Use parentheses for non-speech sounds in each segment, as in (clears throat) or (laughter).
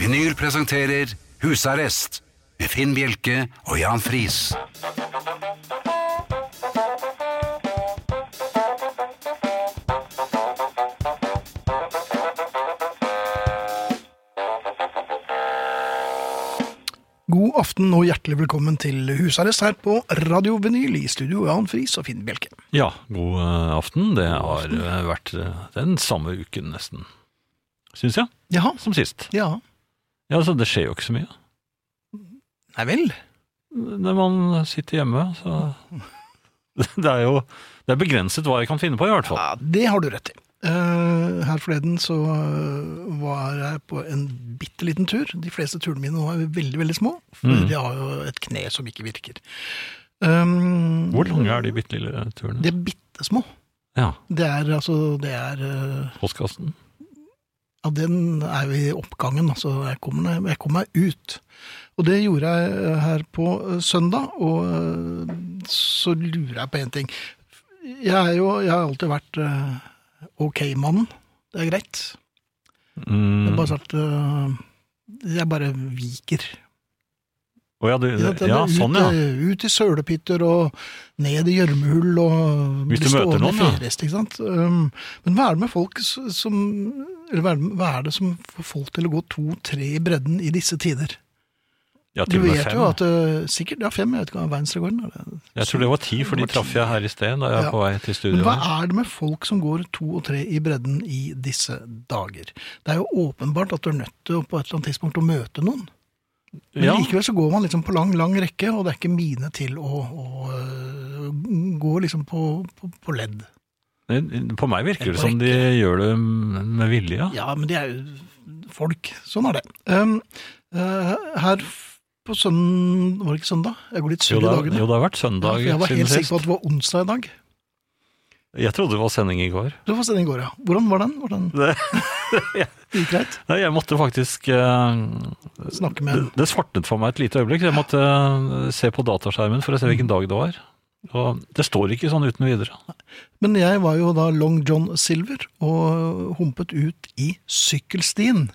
Vinyl presenterer Husarrest med Finn Bjelke og Jan Friis. God aften og hjertelig velkommen til husarrest her på Radio Vinyl i studio Jan Friis og Finn Bjelke. Ja, god eh, aften. Det har eh, vært eh, den samme uken nesten, syns jeg, Jaha. som sist. Ja. Ja, altså, det skjer jo ikke så mye. Nei vel. Når man sitter hjemme, så (laughs) Det er jo det er begrenset hva jeg kan finne på, i hvert fall. Ja, det har du rett i. Eh, her forleden så eh, var jeg på en bitte liten tur. De fleste turene mine nå er veldig, veldig små. For Mm. jeg har jo et kne som ikke virker. Um, Hvor lange er de bitte lille turene? De er bitte små. Ja, Det er altså Det er eh, postkassen. Ja, den er jo i oppgangen, altså. Jeg kom, meg- jeg kom meg ut. Og det gjorde jeg eh, her på eh, søndag, og eh, så lurer jeg på én ting. Jeg er jo Jeg har alltid vært eh, ok-mannen. Det er greit. Det er Mm. bare sånn at eh, jeg bare viker. Å ja, du, Ja, det er ja, sånn, ja. ut, ut i sølepytter og ned i gjørmehull og Hvis bli du møter stående noen, ja. ferest, ikke sant? Um, men hva er det med folk s- som eller hva er, det, hva er det som får folk til å gå to-tre i bredden i disse tider? ja Du til og med vet fem. jo at uh, Sikkert ja, fem, jeg vet ikke hva verdensrekorden er. det? Jeg tror det var ti, for Det de var ti. traff jeg her i sted da jeg Ja. var på vei til Men studio. hva her. er det med folk som går to og tre i bredden i disse dager? Det er jo åpenbart at du er nødt til å på et eller annet tidspunkt å møte noen. Men Ja, likevel så går man liksom på lang, lang rekke, og det er ikke mine til å, å øh, gå liksom på, på, på ledd. på meg Helt virker på det som de gjør det med vilje. Ja, men de er jo folk. Sånn er det. Um, eh, her f- på søndag Var det ikke søndag? Jeg går litt Jo, sur i det, er- dagene. jo, det har vært Ja, søndag for jeg var siden helt sikker sist. på at det var onsdag i dag. Jeg trodde det var sending i går. Det var sending i går, ja. Hvordan var den? Var den (laughs) Det, gikk greit? Nei, jeg måtte faktisk eh, Snakke det, med det svartnet for meg et lite øyeblikk. så Jeg måtte eh, se på dataskjermen for å se hvilken dag det var. Og det står ikke sånn uten videre. Men jeg var jo da Long John Silver og humpet ut i sykkelstien.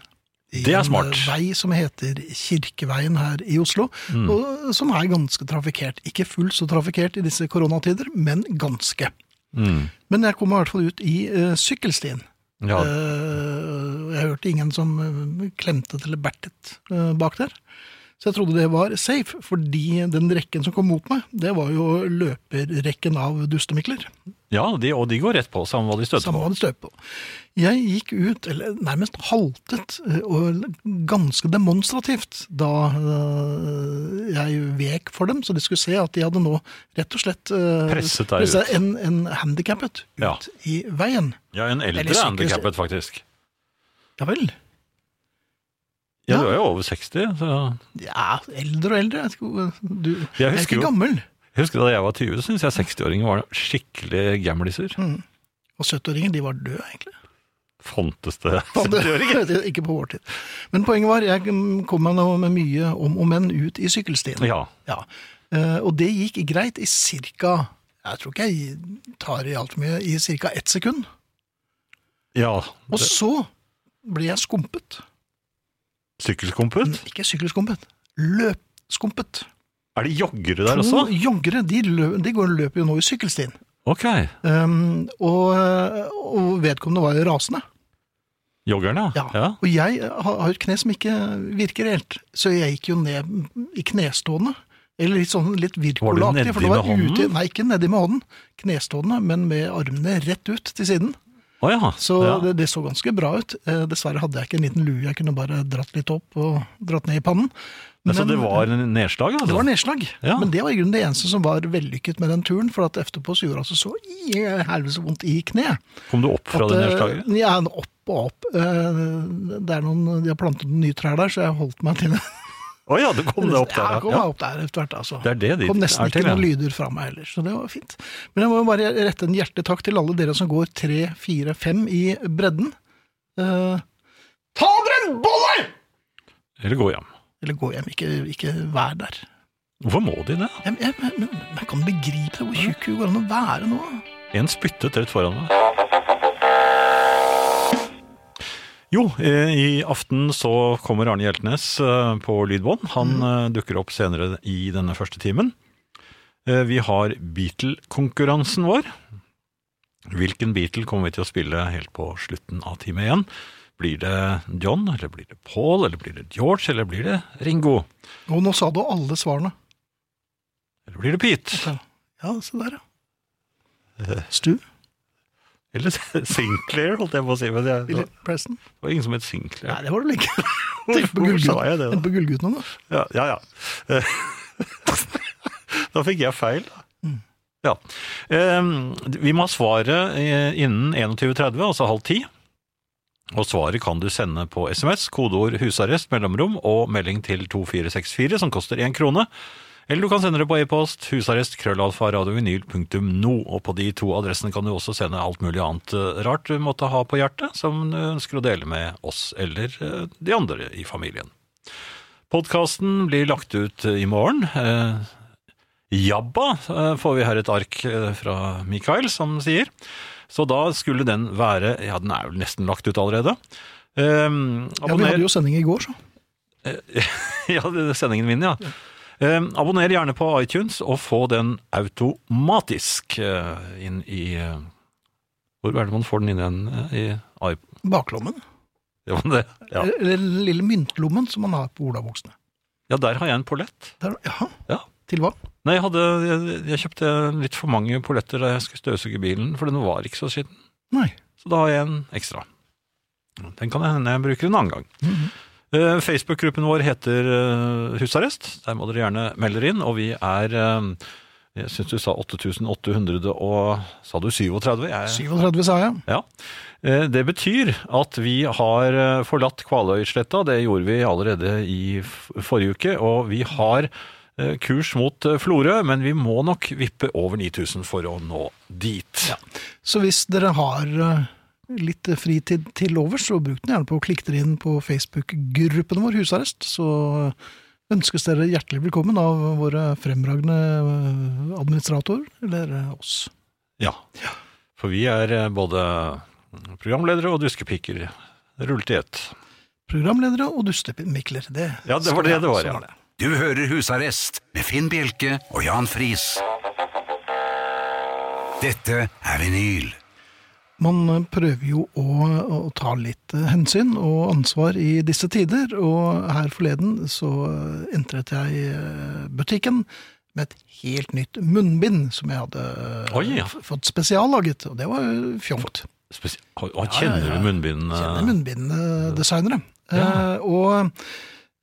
I Det er smart. en eh, vei som heter Kirkeveien her i Oslo, Mm. og eh, som er ganske trafikkert. Ikke fullt så trafikkert i disse koronatider, men ganske. Men jeg kom i hvert fall ut i eh, sykkelstien. Ja, Eh, jeg hørte ingen som eh, klemtet eller bertet eh, bak der. Så jeg trodde det var safe, fordi den rekken som kom mot meg, det var jo løperrekken av dustemikler. ja de, og de går rett på, samme hva de støter Samme på. hva det støt på. Jeg gikk ut, eller nærmest haltet, eh, og ganske demonstrativt, da eh, jeg vek for dem, så de skulle se at de hadde nå rett og slett eh, Presset deg presset ut. En, en handikappet ut Ja. i veien. Ja, en Eller eldre sykehus- handikappet, faktisk. Ja vel. Ja. Ja, du er jo over 60. Så Ja, eldre og eldre. Jeg, skal, du, jeg er husker ikke jo- gammel. jeg husker da jeg var 20, syntes jeg 60-åringer var skikkelig gamliser. Og 70-åringer, de var døde, (laughs) egentlig. Fontes det. Ikke. (laughs) ikke på vår tid. Men poenget var, jeg kom meg nå med mye om og men ut i sykkelstien. (laughs) Ja. Ja, eh, og det gikk greit i cirka, jeg tror ikke jeg tar i alt for mye, i cirka ett sekund. ja. Og så ble jeg skumpet. Sykkelskomput? Ikke sykkelskumpet, løpskumpet. Mm. Er det joggere der også? To joggere, de, lø, de går og løper jo nå i sykkelstien. Ok. Um, og, og vedkommende var jo rasende. Joggerne, Ja. Og jeg har har et kne som ikke virker helt, så jeg gikk jo ned i knestående. Eller litt sånn litt Var du virkolaktig. nedi for det var med hånden? ute- Nei, ikke nedi med hånden. Knestående, men med armene rett ut til siden. Å ja. Så ja. det, det så ganske bra ut. Eh, dessverre hadde jeg ikke en liten lue, jeg kunne bare dratt litt opp og dratt ned i pannen. Men, så Men- det var en nedslag, altså? det var nedslag, Ja. men det var i grunnen det eneste som var vellykket med den turen, for at etterpå så gjorde det altså så i helvete så vondt i kneet. Kom du opp fra At, det eh, nedslaget? Ja, opp og opp. Eh, Det er noen, de har plantet noen nye trær der, så jeg holdt meg til det. Å ja, du kom deg opp der. Ja, ja. kom meg opp der etter hvert, altså. Det er det de kom nesten er til, ikke noen ja. lyder fra meg heller, så det var fint. Men jeg må jo bare rette en hjertetakk til alle dere som går tre, fire, fem i bredden. Eh, Ta dere en bolle! Eller gå hjem. Eller gå hjem, ikke, ikke vær der. Hvorfor må de det? Jeg, jeg, men- men jeg kan begripe det, hvor tjukk hun går an å være nå. En spyttet rett foran meg. Jo, eh, i aften så kommer Arne Hjeltnes eh, på lydbånd. Han eh, dukker opp senere i denne første timen. Eh, Vi har Beatle-konkurransen vår. Hvilken Beatle kommer vi til å spille helt på slutten av time én? Blir det John, eller blir det Paul, eller blir det George, eller blir det Ringo? Og nå sa du alle svarene. Eller blir det Pete? Ja, se der, Eh. ja. Stu? Eller (laughs) Sinclair, holdt jeg på å si. Men jeg, Billy det Preston? var ingen som het Nei, Sinclair. det var det vel (laughs) ikke. Tenk på Hvorfor sa jeg gullgutt- det, da? tenk på Gullguttene, da. Ja, ja. ja. (laughs) da fikk jeg feil, da. Ja. Ehm, Vi må ha svaret eh, innen 21.30, altså halv ti. Og svaret kan du sende på SMS, kodeord 'husarrest', mellomrom og melding til 2464, som koster én krone. Eller du kan sende det på e-post husarrest krøllalfa radiovinyl.no. Og på de to adressene kan du også sende alt mulig annet eh, rart du måtte ha på hjertet, som du ønsker å dele med oss eller eh, de andre i familien. Podkasten blir lagt ut eh, i morgen. Eh, Jabba eh, får vi her et ark eh, fra Mikael som sier. Så da skulle den være Ja, den er vel nesten lagt ut allerede. Eh, Ja, vi abonner- hadde jo sending i går, så. (laughs) ja, det er sendingen min, ja. Eh, abonner gjerne på iTunes og få den automatisk eh, inn i eh, Hvor er det man får den inn igjen? eh, I iP- (laughs) Baklommen. Ja, men det, ja. Eller den lille myntlommen som man har på olabuksene. ja, der har jeg en pollett. Der- Jaha. Ja. Til hva? Nei, jeg, hadde, jeg, jeg kjøpte litt for mange polletter da jeg skulle støvsuge bilen, for den var ikke så skitten. Nei. Så da har jeg en ekstra. Den kan jeg hende jeg bruker en annen gang. Eh, Facebook-gruppen vår heter eh, Husarrest. Der må dere gjerne melde dere inn, og vi er eh, Jeg syns du sa 8800 og Sa du 37? Jeg, 37, sa jeg. ja. Eh, Det betyr at vi har eh, forlatt Kvaløysletta. Det gjorde vi allerede i f- forrige uke. Og vi har eh, kurs mot eh, Florø, men vi må nok vippe over 9000 for å nå dit. Så hvis dere har eh, litt fritid til overs, så bruk den gjerne på å klikke dere inn på Facebook-gruppen vår, Husarrest. Så ønskes dere hjertelig velkommen av våre fremragende eh, administratorer, eller eh, oss. Ja. For vi er eh, både programledere og duskepiker. Rullet i ett. Programledere og dustepinmikler. Det Ja, det skal var det vi ha. det var, Sånn ja. er det. Du hører Husarrest med Finn Bjelke og Jan Friis. Dette er vinyl. Man eh, prøver jo å, å ta litt eh, hensyn og ansvar i disse tider, og her forleden så eh, entret jeg eh, butikken med et helt nytt munnbind som jeg hadde eh, Oi, ja. f- fått spesiallaget, og det var jo fjongt. Spesi- Å, å, ja, kjenner ja. du eh? munnbindene? Kjenner munnbinddesignere. Ja. Eh, og,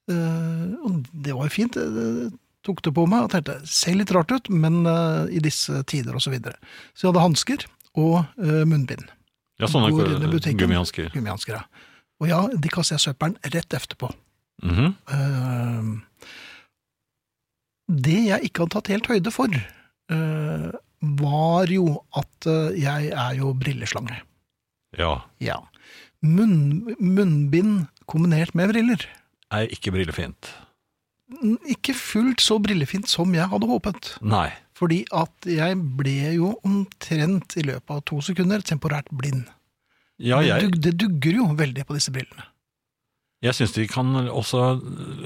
eh, og det var jo fint. Jeg tok det på meg og tenkte ser litt rart ut, men eh, i disse tider og så videre. Så jeg hadde hansker og eh, munnbind. Ja, sånne Går inn i butikken. gummihansker. Gummihansker, ja. Og ja, de kaster jeg søppelen rett etterpå. Mhm. Ehm, det jeg ikke hadde tatt helt høyde for, eh, var jo at eh, jeg er jo brilleslange. Ja. Ja. Munn, munnbind kombinert med briller. Er ikke brillefint. N- Ikke fullt så brillefint som jeg hadde håpet. Nei. Fordi at jeg ble jo omtrent i løpet av to sekunder temporært blind. Ja, jeg... det, dug, det dugger jo veldig på disse brillene. Jeg syns de kan også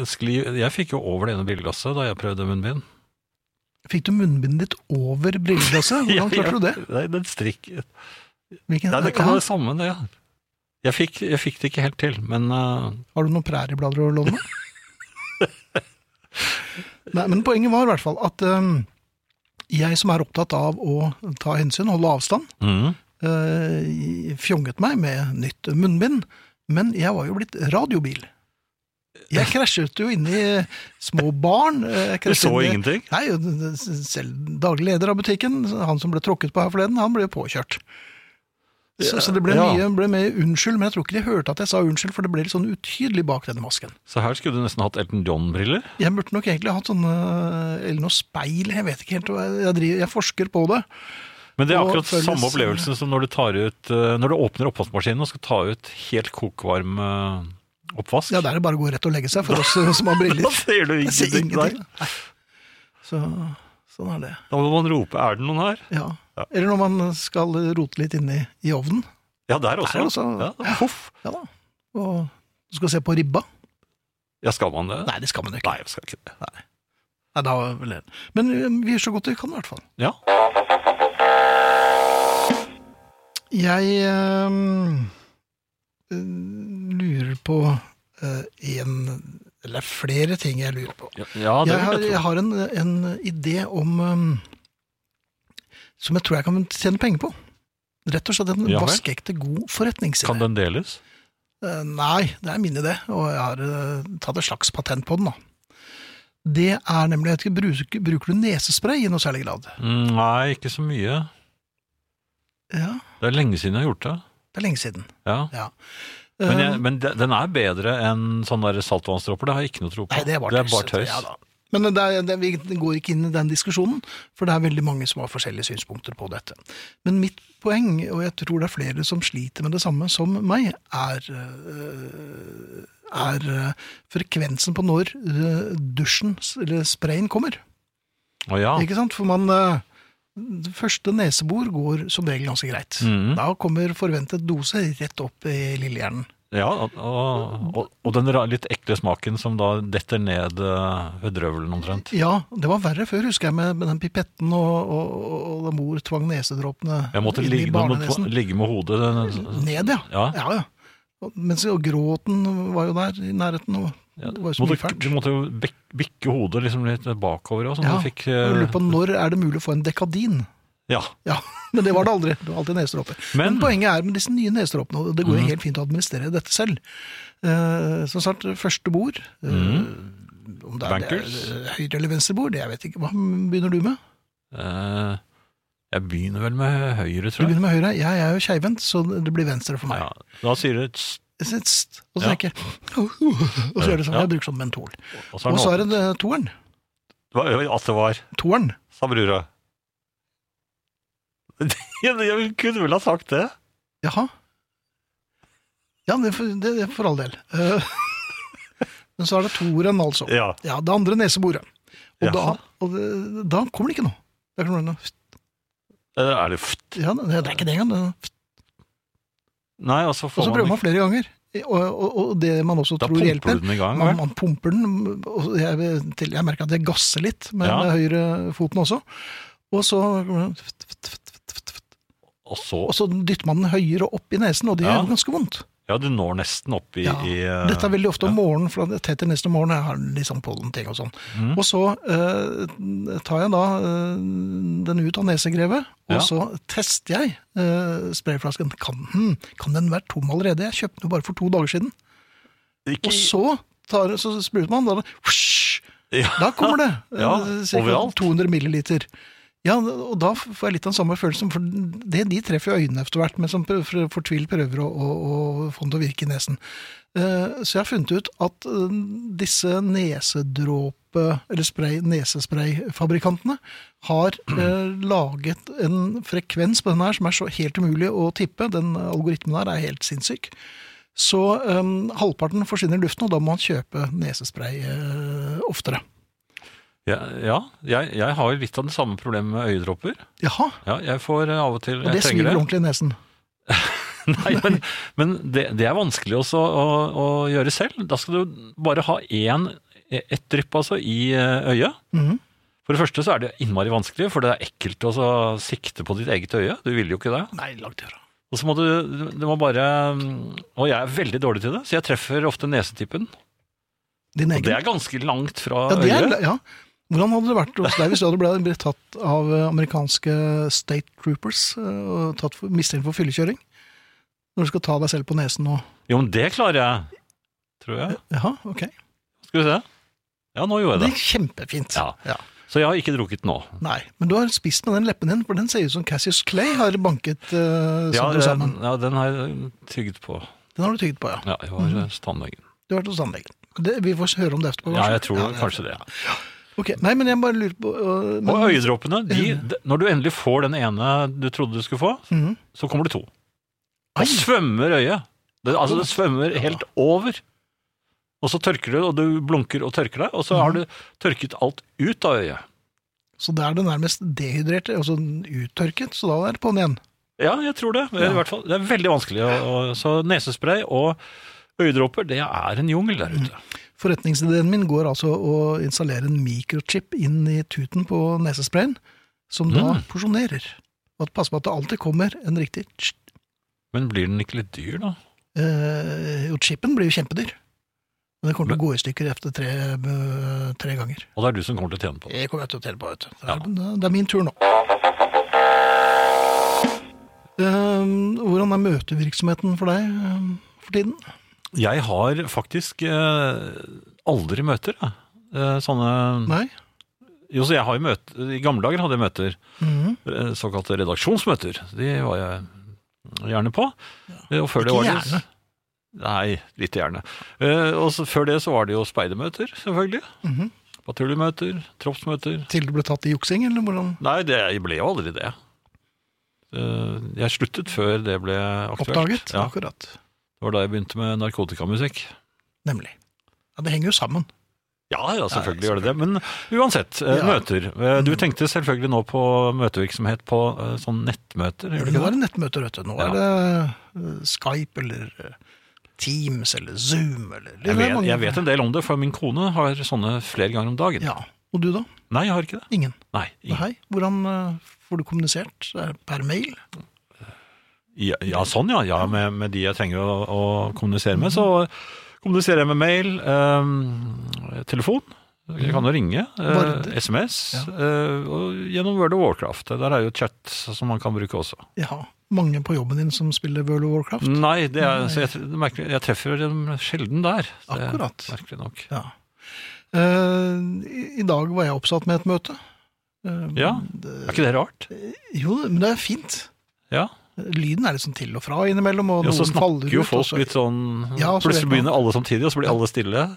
skli Jeg fikk jo over det ene bilglasset da jeg prøvde munnbind. Fikk du munnbindet ditt over brilleglasset? (laughs) Hvordan klarte du det? Nei, den strikk... Nei, Hvilken, det kan Ja, være det samme, det. ja. Jeg fikk, jeg fikk det ikke helt til, men eh, Har du noen prærieblader å (laughs) låne? Nei, men poenget var i hvert fall at eh, jeg som er opptatt av å ta hensyn, holde avstand, mm. eh, fjonget meg med nytt munnbind, men jeg var jo blitt radiobil. Jeg krasjet jo inn i små barn. eh, jeg Du krasjet så inn i- ingenting? Nei, jo, det- det- selv daglig leder av butikken, han som ble tråkket på her forleden, han ble jo påkjørt. Så, så det ble Ja. mye ble mye unnskyld, men jeg tror ikke de hørte at jeg sa unnskyld, for det ble litt sånn utydelig bak denne masken. Så her skulle du nesten hatt Elton John-briller. Jeg burde nok egentlig hatt sånne, eller noe speil, jeg vet ikke helt, hva- jeg, driver, jeg forsker på det. Men det er Og akkurat føles- samme opplevelsen som når du, tar ut, eh, når du åpner oppvaskmaskinen og skal ta ut helt kokvarm eh, oppvask. (laughs) Ja, der er det bare å gå rett og legge seg for oss eh, som har briller. da ser du Jeg ser ingenting der. ingenting. Nei. Så, sånn er det. Da må man rope 'er det noen her?' Ja. Eller når man skal rote litt inne i, i ovnen. Ja, der Der også. også. Ja, Huff. Ja da. Og du skal se på ribba? Ja, skal man det? Nei, det skal man jo ikke. Nei, jeg skal ikke det. Nei, da vel det. Men ø, vi gjør så godt vi kan, i hvert fall. Ja, Jeg ø, ø, lurer på ø, en Eller flere ting jeg lurer på. ja, ja det jeg, har, vil jeg jeg tro. har en, en idé om ø, Som jeg tror jeg kan tjene penger på. Rett og slett en Ja vel. vaskeekte god forretningsidé. Kan den deles? Eh, Nei, det er min idé, og jeg har eh, tatt et slags patent på den. da. Det er nemlig jeg vet ikke, bruker, bruker du nesespray i noe særlig grad? Mm, Nei, ikke så mye. Ja, Det er lenge siden jeg har gjort det. det er lenge siden. Ja. Ja. Men, Eh, jeg, men de- den er bedre enn sånne der saltvannsdråper, det har jeg ikke noe tro på. Nei, det er bare tøys. tøys. Ja, da. Men det er, det, vi går ikke inn i den diskusjonen, for det er veldig mange som har forskjellige synspunkter på dette. Men mitt poeng, og jeg tror det er flere som sliter med det samme som meg, er, øh, er øh, frekvensen på når øh, dusjen, s- eller sprayen, kommer. Å ja. Ikke sant? For man eh, det Første nesebor går som regel ganske greit. Mhm. Da kommer forventet dose rett opp i lillehjernen. ja og, og, og den ra- litt ekle smaken som da detter ned eh, ved drøvelen omtrent. Ja, det var verre før, husker jeg, med, med den pipetten og, og, og, og da mor tvang nesedråpene Jeg måtte inn ligge, i du måtte barnenesen. ligge med hodet eh, Ned, ja. Ja. ja, ja. Og, mens, og gråten var jo der i nærheten, og Ja, det var jo så mye måtte, fælt. Du måtte jo bek- bikke hodet liksom litt bakover og sånn. Ja, du fikk, Jeg eh, lurer på når er det mulig å få en dekadin? ja. Ja, (laughs) Men det var det aldri. Det var alltid nesedråper. Men, Men, poenget er med disse nye nesedråpene, og det går jo Mhm. helt fint å administrere dette selv. Eh, som sagt, første bord eh, Om det er, det er Mhm. Bankers. eh, høyre eller venstre bord, det jeg vet ikke. Hva begynner du med? eh, jeg begynner vel med høyre, Du tror jeg. begynner med høyre. Jeg er jo keivhendt, så det blir venstre for meg. Ja, da sier det tss, Jeg sitter st- Og så Ja. tenker jeg (laughs) Og så gjør det sånn. Jeg bruker sånn mentol. Og så Og så er er det det eh, toeren. noe At det var, Toeren. sa brura. (laughs) Jeg jeg kunne vel ha sagt det. Jaha. Ja, det er for, det er for all del. Eh, (laughs) Men så er det toeren, altså. Ja. Ja, det andre neseboret. Og, Jaha. da, og det, da kommer det ikke noe. Det er ikke noe Eller er det f- Ja, det er ikke det engang. det- Nei, og så Og får så prøver man man ikke flere ganger. Og, og, og det man også Da tror pumper hjelper du den i gang, man, vel? man pumper den, og jeg, til, jeg merker at jeg gasser litt med, Ja. med høyrefoten også. Og så, Og så og så dytter man den høyere opp i nesen, og det Ja. gjør ganske vondt. Ja, du når nesten opp i, Ja. i eh, Dette er veldig ofte om morgenen, for det er tett til neste morgen jeg har litt sånn pollenting og sånn. Mhm. Og så eh, tar jeg da eh, den ut av nesegrevet, og Ja. så tester jeg eh, sprayflasken. Kan, den- kan den være tom allerede? Jeg kjøpte den jo bare for to dager siden. ikke, Og så, tar, så spruter man, da, er det whoosh, Ja. da kommer det (laughs) Ja, eh, cirka overalt. 200 milliliter. Ja, og da får jeg litt den samme følelsen, for det, de treffer jo øynene etter hvert, men som prø- for- fortvilt prøver å, å, å få den til å virke i nesen. Eh, Så jeg har funnet ut at eh, disse nesedråpe- eller spray, nesesprayfabrikantene har (clears throat) eh, laget en frekvens på denne her som er så helt umulig å tippe. Den algoritmen her er helt sinnssyk. Så øhm, halvparten forsvinner i luften, og da må man kjøpe nesespray øh, oftere. Ja, ja jeg, jeg har litt av det samme problemet med øyedråper. Jaha, Ja, jeg får eh, av og til og det jeg trenger sviver ordentlig i nesen. (laughs) Nei, men, men det, det er vanskelig også å, å gjøre selv. Da skal du bare ha én, ett drypp altså, i eh, øyet. Mhm. For det første så er det innmari vanskelig, for det er ekkelt å så sikte på ditt eget øye. Du vil jo ikke det. Nei, langt ifra. Og så må du, du må bare mm, Og jeg er veldig dårlig til det, så jeg treffer ofte nesetippen. Din Og egen? det er ganske langt fra ja, det er, øyet. ja. Hvordan hadde det vært hos deg hvis du hadde blitt- blitt tatt av øh, amerikanske state troopers øh, og tatt for, mistenkt for fyllekjøring? Når du skal ta deg selv på nesen og Jo, men det klarer jeg, tror jeg. Jaha, ok. Skal vi se. Ja, nå gjorde Det jeg det. gikk kjempefint. Ja. Så jeg har ikke drukket nå. Nei, men du har spist med den leppen din, for den ser ut som Cassius Clay har banket øh, Ja, sånn eh, sammen. ja, den har jeg tygget på. Den har du tygd på, ja. Ja, jeg var mm. tannlegen. Du har vært hos tannlegen. Det- Vi får høre om det etterpå. Ja, kanskje. jeg tror det- kanskje det. Ok, Nei, men jeg bare lurer på øh, men, Og øyedråpene, de, de- når du endelig får den ene du trodde du skulle få, Mhm. så kommer det to. Ai. Og svømmer øyet. Det, altså, det svømmer helt over. Og så tørker du, og du blunker og tørker deg, og så har du tørket alt ut av øyet. Så da er det nærmest dehydrert, altså uttørket, så da er det på'n igjen. Ja, jeg tror det. I hvert fall, det er veldig vanskelig. å- å- Så nesespray og Øyedråper, det er en jungel der ute. Forretningsideen min går altså å installere en mikrochip inn i tuten på nesesprayen, som da Mm. porsjonerer. Og at passe på at det alltid kommer en riktig tsk. Men blir den ikke litt dyr, da? Eh, Jo, chipen blir jo kjempedyr. Men den kommer til å gå i stykker etter tre, eh, tre ganger. Og det er du som kommer til å tjene på det. Det kommer jeg til å telle på, vet du. Det Ja. er, eh, det er min tur nå. Ehm, hvordan er møtevirksomheten for deg ehm, for tiden? Jeg har faktisk eh, aldri møter, jeg. Eh, sånne Nei? Jo, så jeg har jo møter I gamle dager hadde jeg møter. Mhm. eh, Såkalte redaksjonsmøter. De var jeg gjerne på. Eh, Og før det Ikke var det gjerne. Nei, lite gjerne. Eh, Og så, før det så var det jo speidermøter, selvfølgelig. Mhm. Patruljemøter, troppsmøter. Til du ble tatt i juksing, eller hvordan? Nei, det jeg ble jo aldri det. Eh, Jeg sluttet før det ble aktuelt. Oppdaget? Ja, Akkurat. det var da jeg begynte med narkotikamusikk. Nemlig. Ja, det henger jo sammen. Ja, ja, selvfølgelig gjør det det. Men uansett, eh, Ja. møter. Eh, Du tenkte selvfølgelig nå på møtevirksomhet på eh, sånn nettmøter, gjør Nå du ikke er det? det nettmøter, vet du. Nå er Ja. det eh, Skype eller eh, Teams eller Zoom eller Det er Jeg vet, mange- jeg vet en del om det, for min kone har sånne flere ganger om dagen. Ja. Og du, da? Nei, jeg har ikke det. Ingen. Nei, ingen. Hei. Hvordan eh, får du kommunisert? Er det Per mail? Ja, ja, sånn ja. ja med, med de jeg trenger å, å kommunisere med, så kommuniserer jeg med mail, eh, telefon. Jeg kan jo Mm. ringe. eh, Varde. SMS. eh, og gjennom World of Warcraft. Der er jo chat som man kan bruke også. Ja. Mange på jobben din som spiller World of Warcraft? Nei, det er, så jeg, det er merkelig, jeg treffer dem sjelden der. Det er Akkurat. Merkelig nok. Ja. Eh, i, I dag var jeg oppsatt med et møte. Eh, Ja, det- er ikke det rart? jo, men det er fint. Ja, Lyden er litt sånn til og fra innimellom, og og så noen faller snakker jo ut, og folk så- litt sånn Ja, og så vet Plutselig man- begynner alle samtidig, og så blir alle stille.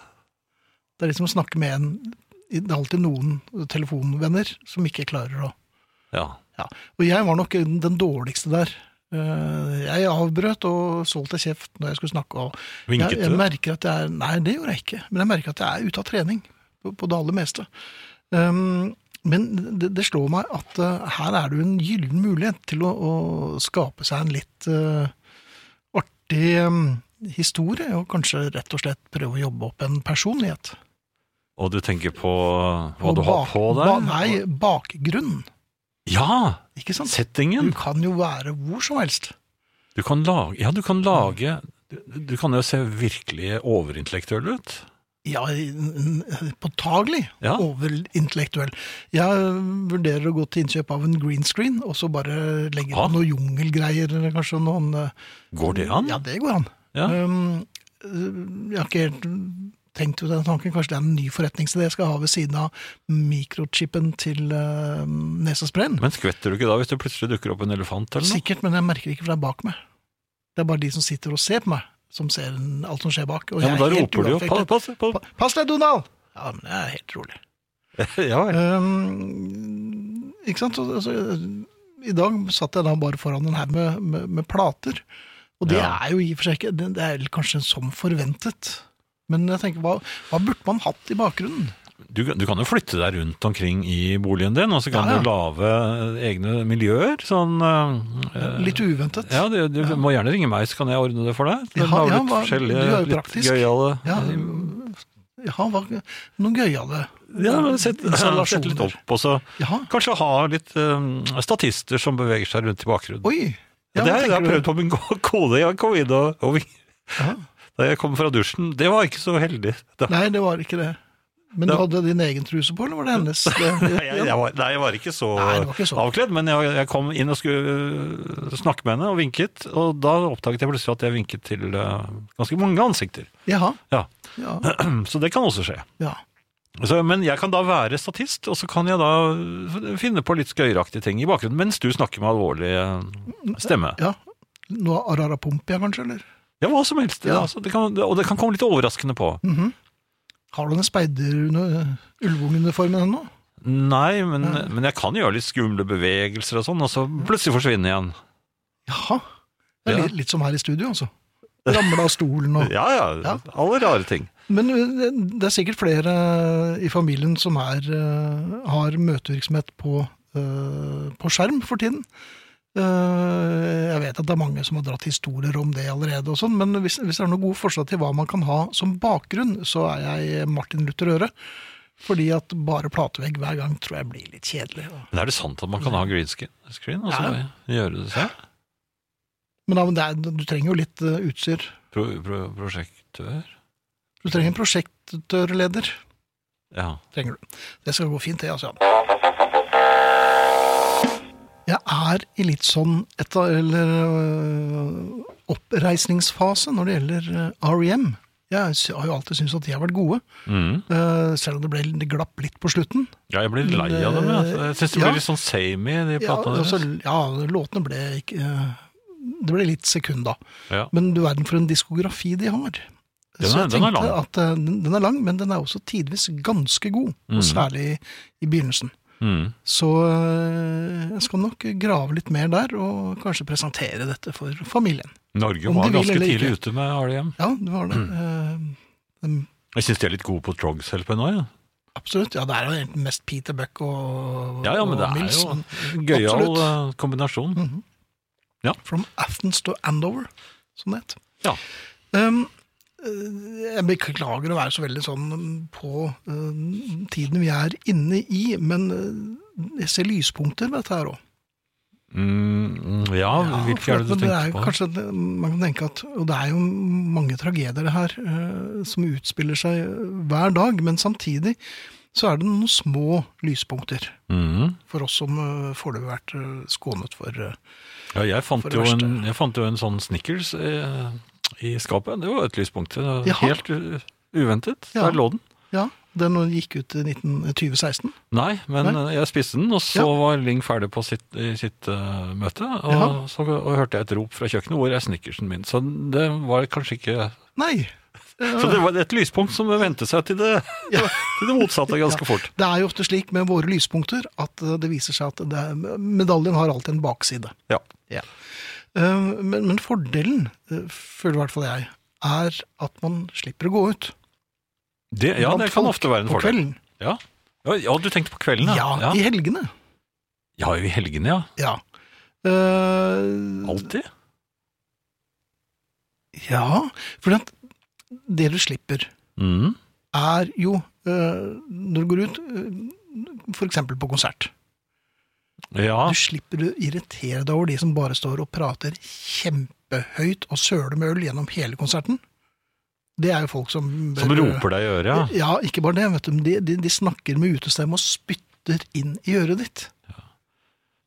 Det er liksom å snakke med en Det er alltid noen telefonvenner som ikke klarer å Ja, ja. Og jeg var nok den dårligste der. Eh, Jeg avbrøt og solgte kjeft når jeg skulle snakke. Og Vinket jeg, du? jeg merker at jeg er Nei, det gjorde jeg ikke. Men jeg merker at jeg er ute av trening på, på det aller meste. Um, men det, det slår meg at eh, her er det jo en gyllen mulighet til å, å skape seg en litt eh, artig eh, historie, og kanskje rett og slett prøve å jobbe opp en personlighet. Og du tenker på hva Og du har bak- på deg? Ba, nei, bakgrunnen. Ja! Ikke sant? Du Settingen. kan jo være hvor som helst. Du kan lage Ja, du kan lage Du, du kan jo se virkelig overintellektuell ut. Ja, n- n- påtagelig Ja. overintellektuell. Jeg vurderer å gå til innkjøp av en green screen, og så bare legge Ja. på noen jungelgreier, eller kanskje noen eh, Går det an? Ja, det går an. Ja. Um, eh, jeg har ikke helt tenkt ut den tanken. Kanskje det er en ny forretningsidé jeg skal ha ved siden av mikrochipen til uh, nesesprayen. Men skvetter du ikke da hvis det plutselig dukker opp en elefant eller noe? Sikkert, men jeg merker ikke for det er bak meg. Det er bare de som sitter og ser på meg, som ser en- alt som skjer bak. Og jeg Ja, men er da helt roper du jo uaffektet. Pass, pass, pass. Pa- Pass deg, Donald! Ja, men jeg er helt rolig. Ja vel. Ehm, ikke sant? Så- så, I dag satt jeg da bare foran en haug med, med, med plater. Og det Ja. er jo i og for seg ikke Det det er kanskje som forventet. Men jeg tenker, hva, hva burde man hatt i bakgrunnen? Du, du kan jo flytte deg rundt omkring i boligen din, og så kan Ja, ja. du lage egne miljøer. Sånn, eh, Litt uventet. ja, du, du må gjerne ringe meg, så kan jeg ordne det for deg. Ja, Lage ja, litt hva- du forskjellige, er jo litt praktisk. gøyale Ja, Jaha, hva, noen gøyale ja, men sett, sett litt installasjoner. opp, og så Jaha. kanskje ha litt eh, statister som beveger seg rundt i bakgrunnen. Oi! Ja, Og det hva har jeg tenker du? prøvd på min kone. Jeg kom inn og, og vi- Ja. da jeg kom fra dusjen. Det var ikke så heldig. Da, Nei, det var ikke det. Men Det- du hadde din egen truse på, eller var det hennes? Det- Nei, jeg, jeg var, nei, jeg var ikke så Nei, det var ikke så. avkledd, men jeg, jeg kom inn og skulle øh, snakke med henne og vinket, og da oppdaget jeg plutselig at jeg vinket til øh, ganske mange ansikter. Jaha. Ja, (clears throat) Ja. Så det kan også skje. ja. Så, men jeg kan da være statist, og så kan jeg da øh, finne på litt skøyeraktige ting i bakgrunnen mens du snakker med alvorlig øh, stemme. ja. Noe Ararapompia, kanskje? eller? Ja, hva som helst. Ja. Mm. Altså, det kan, og det kan komme litt overraskende på. Har du den speiderulvunguniformen ennå? Nei, men, men jeg kan gjøre litt skumle bevegelser og sånn, og så plutselig forsvinne igjen. Jaha. Det er Ja. litt, litt som her i studio, altså. Ramla av stolen (laughs) og Ja, ja, Ja. Alle rare ting. Men eh, det det er sikkert flere i familien som er, eh, har møtevirksomhet på, eh, på skjerm eh, for tiden. Eh, Jeg vet at det er mange som har dratt historier om det allerede, og sånn, men hvis, hvis det er noen gode forslag til hva man kan ha som bakgrunn, så er jeg Martin Luther Øre. Fordi at bare platevegg hver gang tror jeg blir litt kjedelig. Men er det sant at man kan ha green screen, screen og så gjøre det selv? Men da, men det er, du trenger jo litt eh, utstyr. Pro, pro, prosjektør? Du trenger en prosjektørleder. Ja. trenger du. Det skal gå fint, det, altså. Jeg er i litt sånn et, eller, øh, oppreisningsfase når det gjelder øh, REM. Jeg sy- har jo alltid syntes at de har vært gode, Mm. øh, selv om det ble det glapp litt på slutten. ja, jeg blir lei av dem. Jeg, jeg syns eh, det Ja. blir litt sånn samey, de Ja, platene altså, deres. ja låtene ble ikke øh, Det ble litt sekund, da. Ja. Men du verden for en diskografi de har. Den Så er- jeg den er tenkte lang. At, øh, den den er lang, men den er også tidvis ganske god. Mhm. Og særlig i begynnelsen. Mm. Så øh, jeg skal nok grave litt mer der, og kanskje presentere dette for familien. Norge Om de var vil ganske eller tidlig ikke. ute med RDM. Ja, det var Mm. det. Eh, dem- Jeg syns de er litt gode på Trogs LP nå, ja. absolutt. Ja, det er jo egentlig mest Peter Buck og, Ja, ja, men og det er Mills. jo men- en gøyal eh, kombinasjon. Mhm. Ja. From Athens to Andover, som det het. Ja. Um, eh, jeg beklager å være så veldig sånn på eh, tiden vi er inne i, men eh, jeg ser lyspunkter ved dette her òg. Mm, ja, hvilke for er det at du det er tenker jo på? Kanskje, at man kan tenke at, og det er jo mange tragedier her eh, som utspiller seg hver dag, men samtidig så er det noen små lyspunkter Mhm. for oss som eh, foreløpig har vært eh, skånet for eh, Ja, jeg fant, For det jo en, verste. jeg fant jo en sånn Snickers eh, i skapet. Det var et lyspunkt. Det var Jaha. Helt u- uventet. Ja. Der lå den. Ja, den gikk ut i eh, 19, 2016. Nei, men eh, jeg spiste den, og så Ja. var Ling ferdig på sitt, i sitt eh, møte. Jaha. Og så og hørte jeg et rop fra kjøkkenet. 'Hvor er snickersen min?' Så det var kanskje ikke Nei! (laughs) Så det var et lyspunkt som vendte seg til det, Ja. til det (laughs) motsatte ganske fort. Det er jo ofte slik med våre lyspunkter at eh, det viser seg at det er, medaljen har alltid en bakside. Ja. Eh, Men, men fordelen, eh, føler i hvert fall jeg, er at man slipper å gå ut. Det, ja, blant det kan folk ofte være en på fordel. kvelden. Ja. Ja, ja, du tenkte på kvelden, Ja, ja. i Ja, helgene. ja i helgene, ja. Ja. Eh, Alltid. ja, for at det du slipper, Mm. er jo eh, når du går ut, eh, for eksempel på konsert. Ja. Du slipper å irritere deg over de som bare står og prater kjempehøyt og søler med øl gjennom hele konserten. Det er jo folk som bør- Som roper deg i øret, ja. Ja, ikke bare det. Vet du, men de, de, de snakker med utestemme og spytter inn i øret ditt.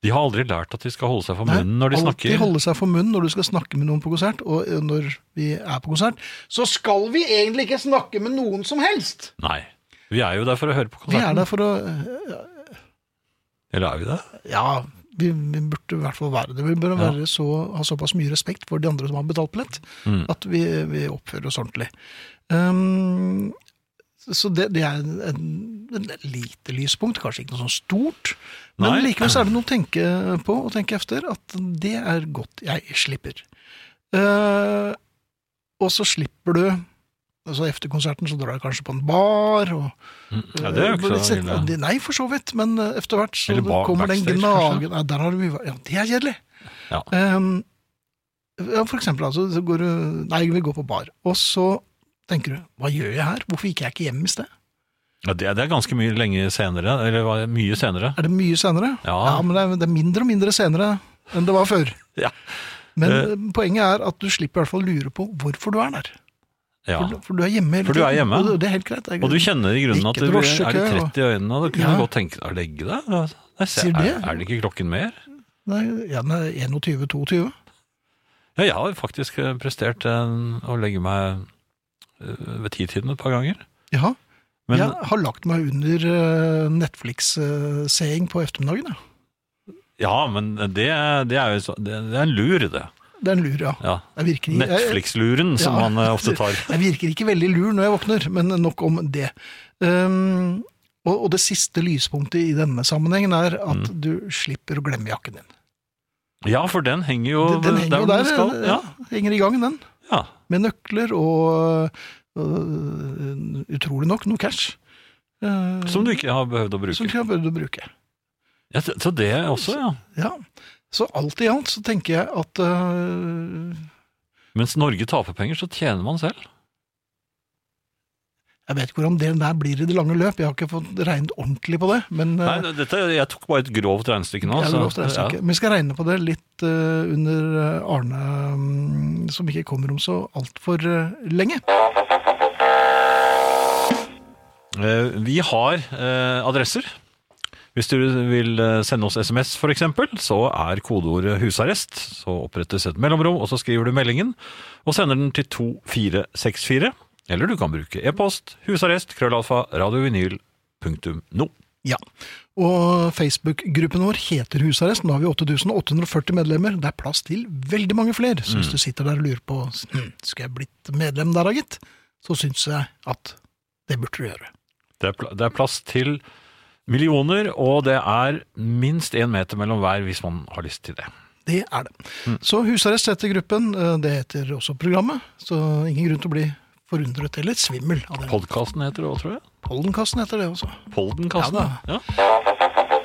De har aldri lært at de skal holde seg for Nei, munnen når de snakker. Alltid holde seg for munnen når du skal snakke med noen på konsert, og eh, når vi er på konsert. Så skal vi egentlig ikke snakke med noen som helst! Nei. Vi er jo der for å høre på Vi er konserten. der for å eh, Eller er vi det? Ja, vi, vi burde i hvert fall være det. Vi bør Ja. være så, ha såpass mye respekt for de andre som har betalt billett, Mm. at vi, vi oppfører oss ordentlig. Ehm, så det, det er en, en et lite lyspunkt, kanskje ikke noe sånn stort. Men Nei. likevel så er det noe å tenke på og tenke efter, at det er godt jeg slipper. Eh, og så slipper du altså Efter konserten så drar du kanskje på en bar. og Mm. Ja, det er jo ikke så Sett- ille. Nei, for så vidt, men eh, etter hvert så Eller bak- kommer den backstage, kanskje? gnagen Nei, der har du mye Ja, det er kjedelig. Ja. Ehm, ja, for eksempel, altså, så går du Nei, vi går på bar, og så tenker du Hva gjør jeg her? Hvorfor gikk jeg ikke hjem i sted? Ja, det, det er ganske mye lenge senere. Eller hva- mye senere. Er det mye senere? Ja. men det er, det er mindre og mindre senere enn det var før. (laughs) Ja. Men Eh. eh, poenget er at du slipper i hvert fall lure på hvorfor du er der. ja. For, for du er hjemme hele For du er tiden, hjemme. og det- det er helt greit. Det er Og du greit. kjenner i grunnen Ikke at det blir, drosjekø, er det og- 30 i øynene, og du kunne Ja. godt tenke deg å legge deg. Nei, se, Sier er, det? er det ikke klokken mer? Nei, ja, den er 21-22. Ja, jeg har faktisk eh, prestert eh, å legge meg eh, ved titiden et par ganger. Ja. Men jeg har lagt meg under eh, Netflix-seing på ettermiddagen. Ja. Ja, men det, det, er jo, så- det, det er en lur, det. Det er en lur, ja. Ja. Jeg virker, jeg- Netflix-luren, som Ja. man eh, ofte tar. (laughs) Jeg virker ikke veldig lur når jeg våkner, men nok om det. Ehm, og, og det siste lyspunktet i denne sammenhengen er at Mm. du slipper å glemme jakken din. Ja, for den henger jo Den, den henger jo hvor der. den skal. ja. Ja, Henger i gang, den. ja. Med nøkler og øh, utrolig nok noe cash. eh, Som du ikke har behøvd å Som bruke. jeg har prøvd å bruke. Ja, så- så det også, ja. Ja. Så alt i alt så tenker jeg at øh, Mens Norge taper penger, så tjener man selv. Jeg vet ikke hvordan det der blir i det lange løp, jeg har ikke fått regnet ordentlig på det. Men, øh, Nei, dette, jeg tok bare et grovt regnestykke nå. Ja, det så- er lovt regnestykke. ja. Men vi skal regne på det litt eh, under eh, Arne, mm, som ikke kommer om så altfor uh, lenge. Eh, Vi har eh, adresser. Hvis du vil eh, sende oss SMS, for eksempel, så er kodeordet 'husarrest'. Så opprettes et mellomrom, og så skriver du meldingen og sender den til 2464. Eller du kan bruke e-post husarrest krøllalfa radiovinyl.no. Ja. Og Facebook-gruppen vår heter Husarrest. Nå har vi 8840 medlemmer. Det er plass til veldig mange flere. Så hvis Mm. du sitter der og lurer på hm, skal jeg blitt medlem der, da, gitt, så syns jeg at det burde du gjøre. Det, er pla- det er plass til millioner, og det er minst én meter mellom hver hvis man har lyst til det. Det er det. Så husarrest heter gruppen. eh, Det heter også programmet. Så ingen grunn til å bli forundret eller svimmel av det. Podkasten heter det òg, tror jeg. Pollenkassen heter det også. Poldenkasten. Ja Ja.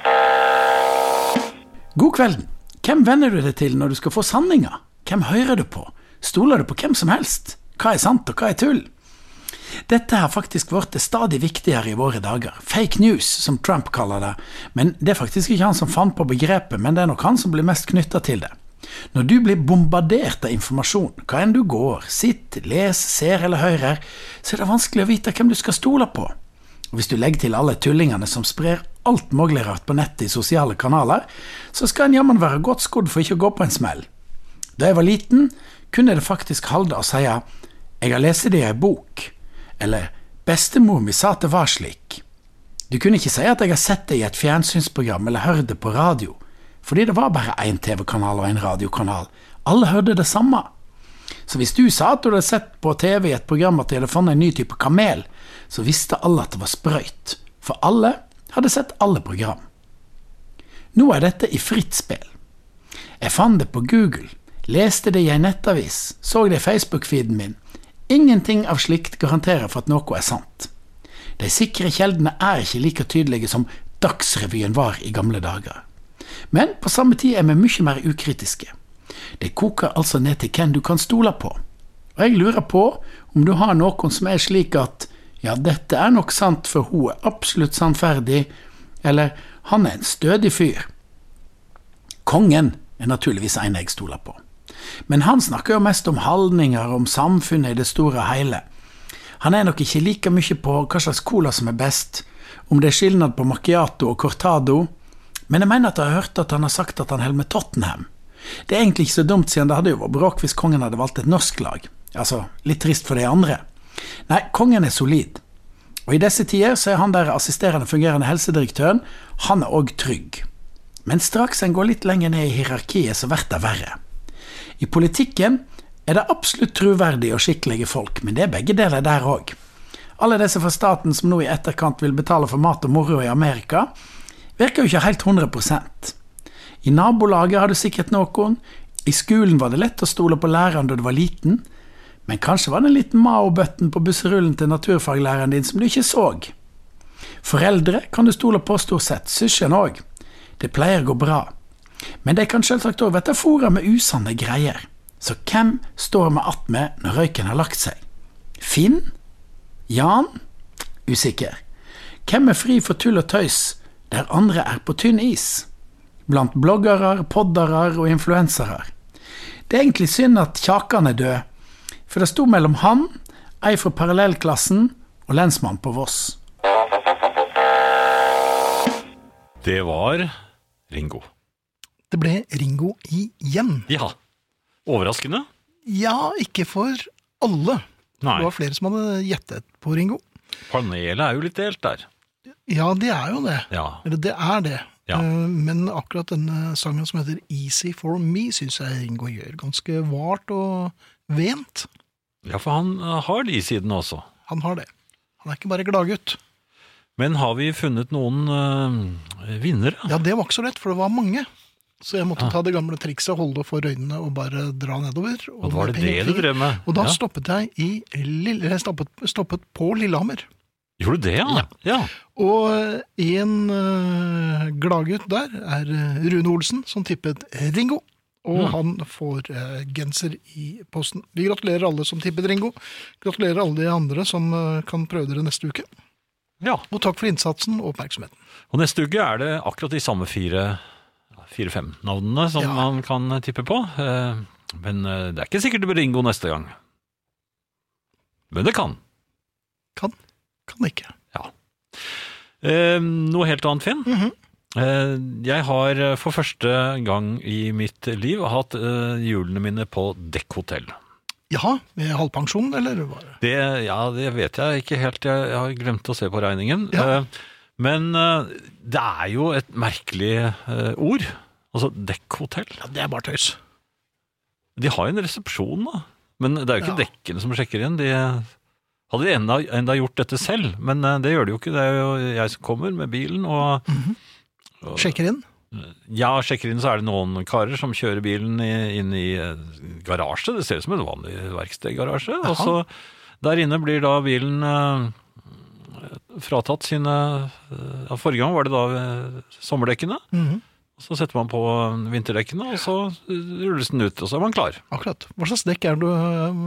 God kvelden. Hvem venner du deg til når du skal få sanninga? Hvem hører du på? Stoler du på hvem som helst? Hva er sant, og hva er tull? Dette har faktisk blitt stadig viktigere i våre dager. Fake news, som Trump kaller det. Men det er faktisk ikke han som fant på begrepet, men det er nok han som blir mest knytta til det. Når du blir bombardert av informasjon, hva enn du går, sitter, leser, ser eller hører, så er det vanskelig å vite hvem du skal stole på. Og Hvis du legger til alle tullingene som sprer alt mulig rart på nettet i sosiale kanaler, så skal en jammen være godt skodd for ikke å gå på en smell. Da jeg var liten, kunne det faktisk halde å si jeg har lest det i ei bok, eller bestemor mi sa at det var slik. Du kunne ikke si at jeg har sett det i et fjernsynsprogram eller hørt det på radio, fordi det var bare én TV-kanal og én radiokanal. Alle hørte det samme. Så hvis du sa at du hadde sett på TV i et program at de hadde funnet en ny type kamel, så visste alle at det var sprøyt, for alle hadde sett alle program. Nå er dette i fritt spill. Jeg fant det på Google, leste det i ei nettavis, så det i Facebook-feeden min. Ingenting av slikt garanterer for at noe er sant. De sikre kjeldene er ikke like tydelige som Dagsrevyen var i gamle dager. Men på samme tid er vi mye mer ukritiske. Det koker altså ned til hvem du kan stole på. Og jeg lurer på om du har noen som er slik at ja, dette er nok sant, for hun er absolutt sannferdig, eller han er en stødig fyr. Kongen er naturligvis en jeg stoler på. Men han snakker jo mest om holdninger og om samfunnet i det store og hele. Han er nok ikke like mye på hva slags cola som er best, om det er skilnad på macchiato og cortado, men jeg mener at jeg har hørt at han har sagt at han holder med Tottenham. Det er egentlig ikke så dumt, siden det hadde jo vært bråk hvis kongen hadde valgt et norsk lag. Altså, litt trist for de andre. Nei, kongen er solid. Og i disse tider så er han der assisterende fungerende helsedirektøren, han er òg trygg. Men straks en går litt lenger ned i hierarkiet, så blir det verre. I politikken er det absolutt troverdige og skikkelige folk, men det er begge deler der òg. Alle disse fra staten som nå i etterkant vil betale for mat og moro i Amerika, virker jo ikke helt 100 I nabolaget har du sikkert noen, i skolen var det lett å stole på læreren da du var liten, men kanskje var det en liten Mao-button på busserullen til naturfaglæreren din som du ikke så. Foreldre kan du stole på stort sett, søsken òg. Det pleier å gå bra. Men de kan selvsagt òg bli fôra med usanne greier. Så hvem står vi attmed når røyken har lagt seg? Finn? Jan? Usikker. Hvem er fri for tull og tøys der andre er på tynn is? Blant bloggere, poddere og influensere. Det er egentlig synd at Kjakan er død, for det sto mellom han, ei fra parallellklassen og lensmannen på Voss. Det var Ringo. Det ble Ringo igjen. Ja. Overraskende? Ja, ikke for alle. Nei. Det var flere som hadde gjettet på Ringo. Panelet er jo litt delt der. Ja, det er jo det. Ja. Eller det er det. Ja. Eh, Men akkurat denne sangen som heter Easy for me, syns jeg Ringo gjør ganske vart og vent. ja, for han eh, har de sidene også. Han har det. Han er ikke bare gladgutt. Men har vi funnet noen eh, vinnere? Ja, det var ikke så lett, for det var mange. Så jeg måtte ta det gamle trikset, holde for øynene og bare dra nedover. Og var det penger- det du drev med? Og da ja. stoppet jeg i Lille, eller stoppet, stoppet på Lillehammer. Gjorde du det, ja? ja. Og eh, en uh, gladgutt der er eh, Rune Olsen, som tippet Ringo. Og han får eh, genser i posten. Vi gratulerer alle som tippet Ringo. Gratulerer alle de andre som eh, kan prøve dere neste uke. ja. Og takk for innsatsen og oppmerksomheten. Og neste uke er det akkurat de samme fire, fire-fem navnene som Ja. man kan tippe på. Eh, Men eh, det er ikke sikkert det blir Ringo neste gang. Men det kan. Kan, kan ikke. Eh, Noe helt annet, Finn. Mhm. Eh, Jeg har eh, for første gang i mitt liv hatt eh, julene mine på dekkhotell. Jaha, med halvpensjon, eller? hva er det? Det, ja, det vet jeg ikke helt. Jeg, jeg har glemt å se på regningen. Ja. Eh, Men eh, det er jo et merkelig eh, ord. Altså dekkhotell. Ja, det er bare tøys. De har jo en resepsjon, da. Men det er jo Ja. ikke dekkene som sjekker inn. De hadde de enda, enda gjort dette selv, men eh, det gjør de jo ikke. Det er jo jeg som kommer med bilen, og Sjekker inn. ja, sjekker inn, så er det noen karer som kjører bilen i, inn i eh, garasje. Det ser ut som en vanlig verkstedgarasje. Og så der inne blir da bilen eh, fratatt sine eh, ja, Forrige gang var det da eh, sommerdekkene. Mhm, Så setter man på vinterdekkene, og så eh, rulles den ut, og så er man klar. Akkurat. Hva slags dekk er det du øh,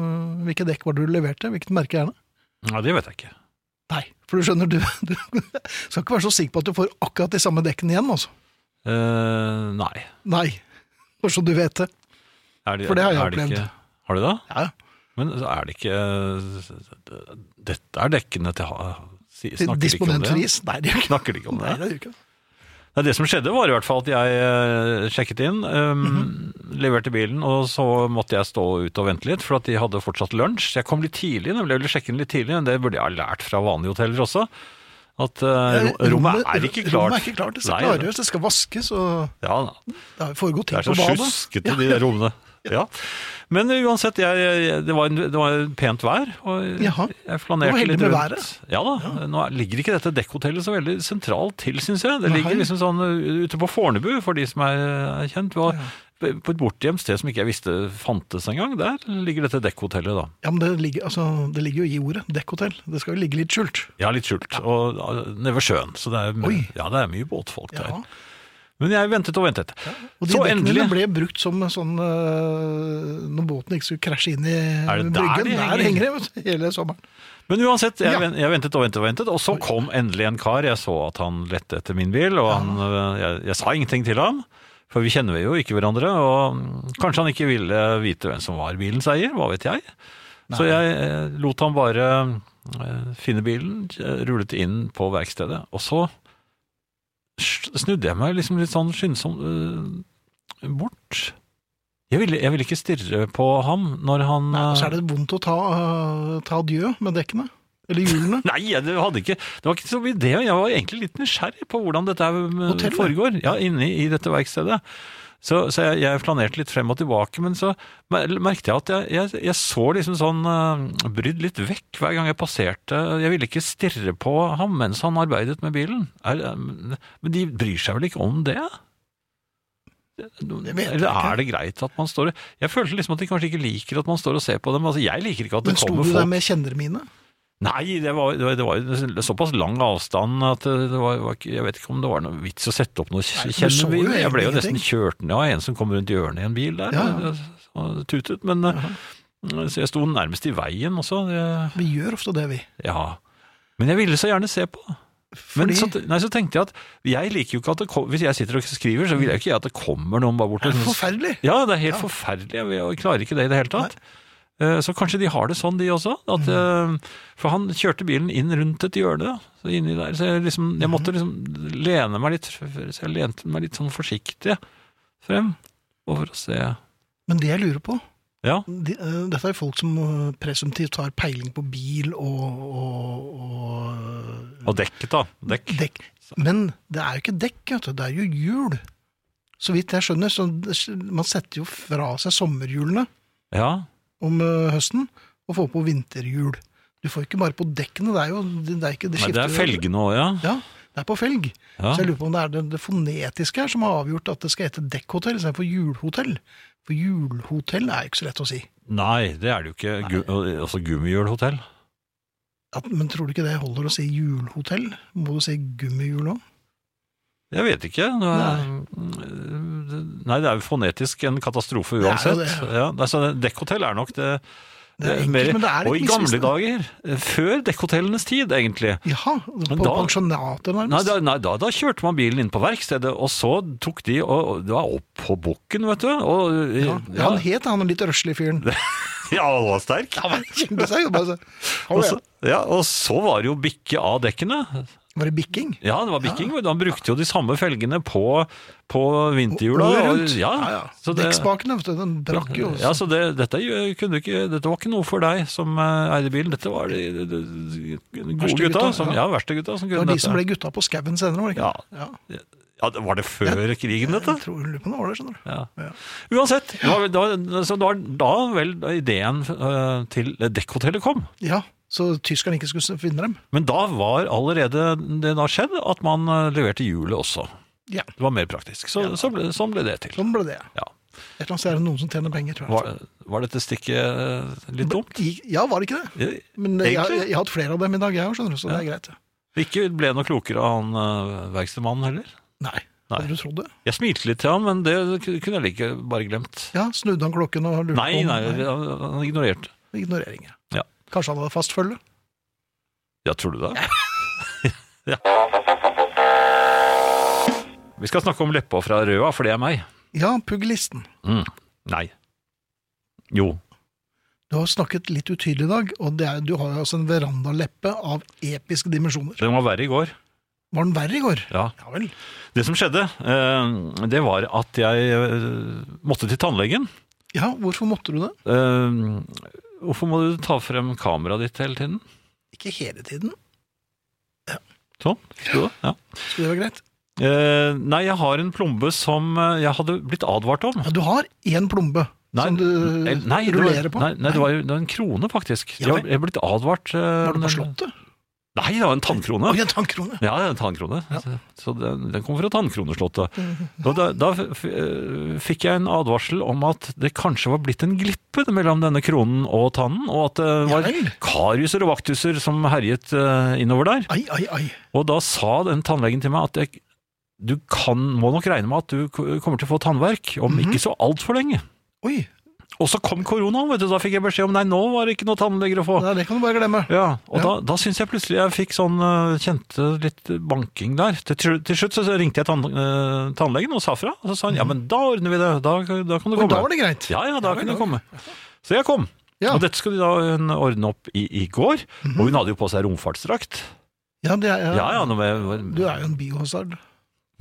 Hvilke dekk var det du leverte? Hvilket merke er det? Ja, Det vet jeg ikke. Nei, for du skjønner, du, (laughs) du skal ikke være så sikker på at du får akkurat de samme dekkene igjen, altså. Eh, nei. Nei. Bare så du vet det. Er de- For det har jeg er de opplevd. Ikke, har du det? Ja, Men er det ikke eh, Dette er dekkene til ha- si- til Snakker de ikke om det? Disponentpris. Nei, det gjør ikke Snakker de ikke om Nei, det? det gjør ikke det. Nei, det som skjedde, var i hvert fall at jeg eh, sjekket inn, um, Mhm. leverte bilen, og så måtte jeg stå ute og vente litt, for at de hadde fortsatt lunsj. Jeg kom litt tidlig, nemlig. Jeg ville sjekke inn litt tidlig, men det burde jeg ha lært fra vanlige hoteller også. At eh, ro- rommet er ikke klart. Rommet er ikke klart. Det skal Nei, klargjøres, det skal vaskes, og Ja, da. det har foregått ting Det er så på badet. sjuskete, de der (laughs) rommene. Ja. Men eh, uansett, jeg, jeg, det, var en, det var pent vær. Og Jaha. jeg flanerte Du var heldig litt med rundt. Ja da. Nå er- ligger ikke dette dekkhotellet så veldig sentralt til, syns jeg. Det Nei. ligger liksom sånn uh, ute på Fornebu, for de som er uh, kjent. Og På et bortgjemt sted som ikke jeg visste fantes engang. Der ligger dette dekkhotellet, da. Ja, men det ligger, altså, det ligger jo i ordet. Dekkhotell. Det skal jo ligge litt skjult. Ja, litt skjult. Og uh, nede ved sjøen. Så det er, Oi. ja, det er mye båtfolk Ja. der. Men jeg ventet og ventet. Og de så dekkene endelig ble brukt som sånn øh, Når båten ikke skulle krasje inn i Er det der bryggen. de henger? der henger de vet du, hele sommeren. Men uansett, jeg, Ja. ven- jeg ventet og ventet og ventet, og så kom endelig en kar. Jeg så at han lette etter min bil, og han, øh, jeg, jeg sa ingenting til ham. For vi kjenner jo ikke hverandre, og mm, kanskje han ikke ville vite hvem som var bilens eier, hva vet jeg. Så jeg eh, lot ham bare eh, finne bilen, eh, rullet inn på verkstedet, og så s- snudde jeg meg liksom litt sånn skyndsomt eh, bort. Jeg ville, jeg ville ikke stirre på ham når han Og så eh, er det vondt å ta, øh, ta adjø med dekkene. Eller hjulene. Nei, jeg- (laughs) det, hadde ikke, det var ikke så mye det. Jeg var egentlig litt nysgjerrig på hvordan dette her, eh, Hotellet? foregår. Ja, inne i dette verkstedet. Så, så jeg, jeg flanerte litt frem og tilbake, men så mer- merket jeg at jeg, jeg, jeg så liksom sånn eh, brydd litt vekk hver gang jeg passerte. Jeg ville ikke stirre på ham mens han arbeidet med bilen. Er, eh, men de bryr seg vel ikke om det? Det vet jeg Eller ikke. er det greit at man står og- Jeg følte liksom at de kanskje ikke liker at man står og ser på dem. Altså, jeg liker ikke at det Men sto kommer du folk der med kjenner mine? Nei, det var, det var, det var jo såpass lang avstand at det var, var ikke, jeg vet ikke om det var noe vits å sette opp noe Nei, for du så jo kjennebil. Jeg ble jo nesten ingenting. kjørt ned av en som kom rundt hjørnet i en bil der. Ja, ja. Og tutet, men eh, så jeg sto nærmest i veien også. Det, Vi gjør ofte det, vi. ja. Men jeg ville så gjerne se på. Men Fordi- så, nei, så tenkte jeg at jeg liker jo ikke at det kom, hvis jeg sitter og skriver, så vil jeg jo ikke at det kommer noen bare bort. Det er og sånn- forferdelig. ja, det er helt forferdelig. Jeg- Jeg klarer ikke det i det hele tatt. Eh, Så kanskje de har det sånn, de også. At, Mm. eh, For han kjørte bilen inn rundt et hjørne. Så inni der, så jeg, liksom, jeg Mm. måtte liksom lene meg litt Så jeg lente meg litt sånn forsiktig frem. Og for å se Men det jeg lurer på Ja, de, eh, Dette er folk som eh, presumptivt har peiling på bil og, og, og og dekket, da. Dekk. dekk. Men det er jo ikke dekk, vet du. Det er jo hjul. Så vidt jeg skjønner, så man setter jo fra seg sommerhjulene Ja. om eh, høsten og får på vinterhjul. Du får ikke bare på dekkene, det er jo det er ikke det Men det er skifter- felgene òg, ja. Ja, det er på felg. Ja. Så jeg lurer på om det er det, det fonetiske her som har avgjort at det skal hete dekkhotell istedenfor julhotell. For julhotell er jo ikke så lett å si. eh, altså Nei, det er det jo ikke. Gu- og- Også gummihjulhotell. Ja, men tror du ikke det holder å si julehotell? Må du si gummihjul òg? Jeg vet ikke. Det er, Mm, nei. det er jo fonetisk en katastrofe er jo uansett. det. Ja, altså, dekkhotell er nok det, Det er enkelt, men det er litt Og i gamle misvisende. dager, eh, før dekkhotellenes tid, egentlig. Jaha, på da- pensjonatet Nei, nærmest? da, nei da, da kjørte man bilen inn på verkstedet, og så tok de og Det var opp på bukken, vet du. Og, eh, ja. Ja, han het han litt røslige fyren. (laughs) (laughs) ja, han var sterk. Kjempeseg. og bare så- Og så, ja, og så var det jo bikke av dekkene. Var det bikking? Ja, det var bikking. vet du. Han brukte jo de samme felgene på, på vinterhjula. Året og- rundt? Ja, ja, ja. Så det, Dekkspakene, vet du, den brakk jo. ja, så det, dette, gjør- kunne ikke, dette var ikke noe for deg som eh, eide bilen. Dette var de, de, de, de gode Verste gutta, gutta, som, ja. ja. verste gutta som det var kunne de dette. som ble gutta på skauen senere, var det ikke? Ja. Ja, det- var det før krigen, dette? Jeg tror lurer på om det var det, skjønner du. Ja. Ja. Uansett, det var, da, så da, da vel ideen eh, til dekkhotellet kom. Ja, så tyskerne ikke skulle finne dem. Men da var allerede det da skjedd at man eh, leverte hjulet også. Ja, Det var mer praktisk. Så, så ble, sånn ble det til. sånn ble det. Ja. Et eller annet sted er det noen som tjener penger, tror jeg. Var, var dette stikket eh, litt dumt? I- Ja, var det ikke det? Eh, Men jeg, jeg, Egentlig? jeg har hatt flere av dem i dag, jeg òg, skjønner du, så det er greit. Ikke ble noe klokere av han eh, verkstedmannen heller. Nei. Nei. Hadde du trodd det? Jeg smilte litt til han, men det kunne jeg like bare glemt. Ja, snudde han klokken og lurte Nei, på nei, han han ignorerte. Ignorering, ja. Ja. Kanskje han hadde fast følge? Ja, tror du det? (laughs) ja. Vi skal snakke om leppa fra Røa, for det er meg. Ja, pugglisten. Mm. Nei. Jo. Du har snakket litt utydelig i dag, og det er, du har jo altså en verandaleppe av episke dimensjoner. Den var verre i går. Var den verre i går? Ja. Ja vel. Det som skjedde, eh, det var at jeg eh, måtte til tannlegen. Ja, hvorfor måtte du det? Eh, Hvorfor må du ta frem kameraet ditt hele tiden? Ikke hele tiden. Sånn, fikk du det? Ja. Skulle det være greit? Eh, nei, jeg har en plombe som eh, jeg hadde blitt advart om. Ja, du har én plombe Nei, som du el- Eh, nei, det var- rullerer Mm. på. Nei, nei det, var, jo- det var en krone, faktisk. Ja Jeg vel. jeg er blitt advart. eh, Var det på Slottet? Nei, det var en tannkrone. Oi, en tannkrone. Ja, det er en tannkrone. Så- Så den, den kom fra (laughs) tannkroneslottet. Og da, da f- eh, fikk jeg en advarsel om at det kanskje var blitt en glippe mellom denne kronen og tannen, og at det var Ja vel. kariuser og vaktuser som herjet eh, innover der. Ai, ai, ai. Og da sa den tannlegen til meg at jeg, du kan, må nok regne med at du k- kommer til å få tannverk om Mhm. ikke så altfor lenge. Oi, Og så kom koronaen, vet du. Da fikk jeg beskjed om nei, nå var det ikke noe tannleger å få. nei, det kan du bare glemme. Ja, og Ja. da, da syns jeg plutselig jeg fikk sånn øh, Kjente litt banking der. Til, tru- til slutt så ringte jeg tann, øh, tannlegen og sa fra. Og så sa han ja, men da ordner vi det. Da, da kan du Oi, komme. da var det greit. Ja, ja, da Ja, kan vel, du komme. Så jeg kom. Ja. Mhm. Og dette skulle da hun ordne opp i, i går. Og hun hadde jo på seg romfartsdrakt. Ja, det er, Ja, ja, nå må jeg- Du er jo en biohazard.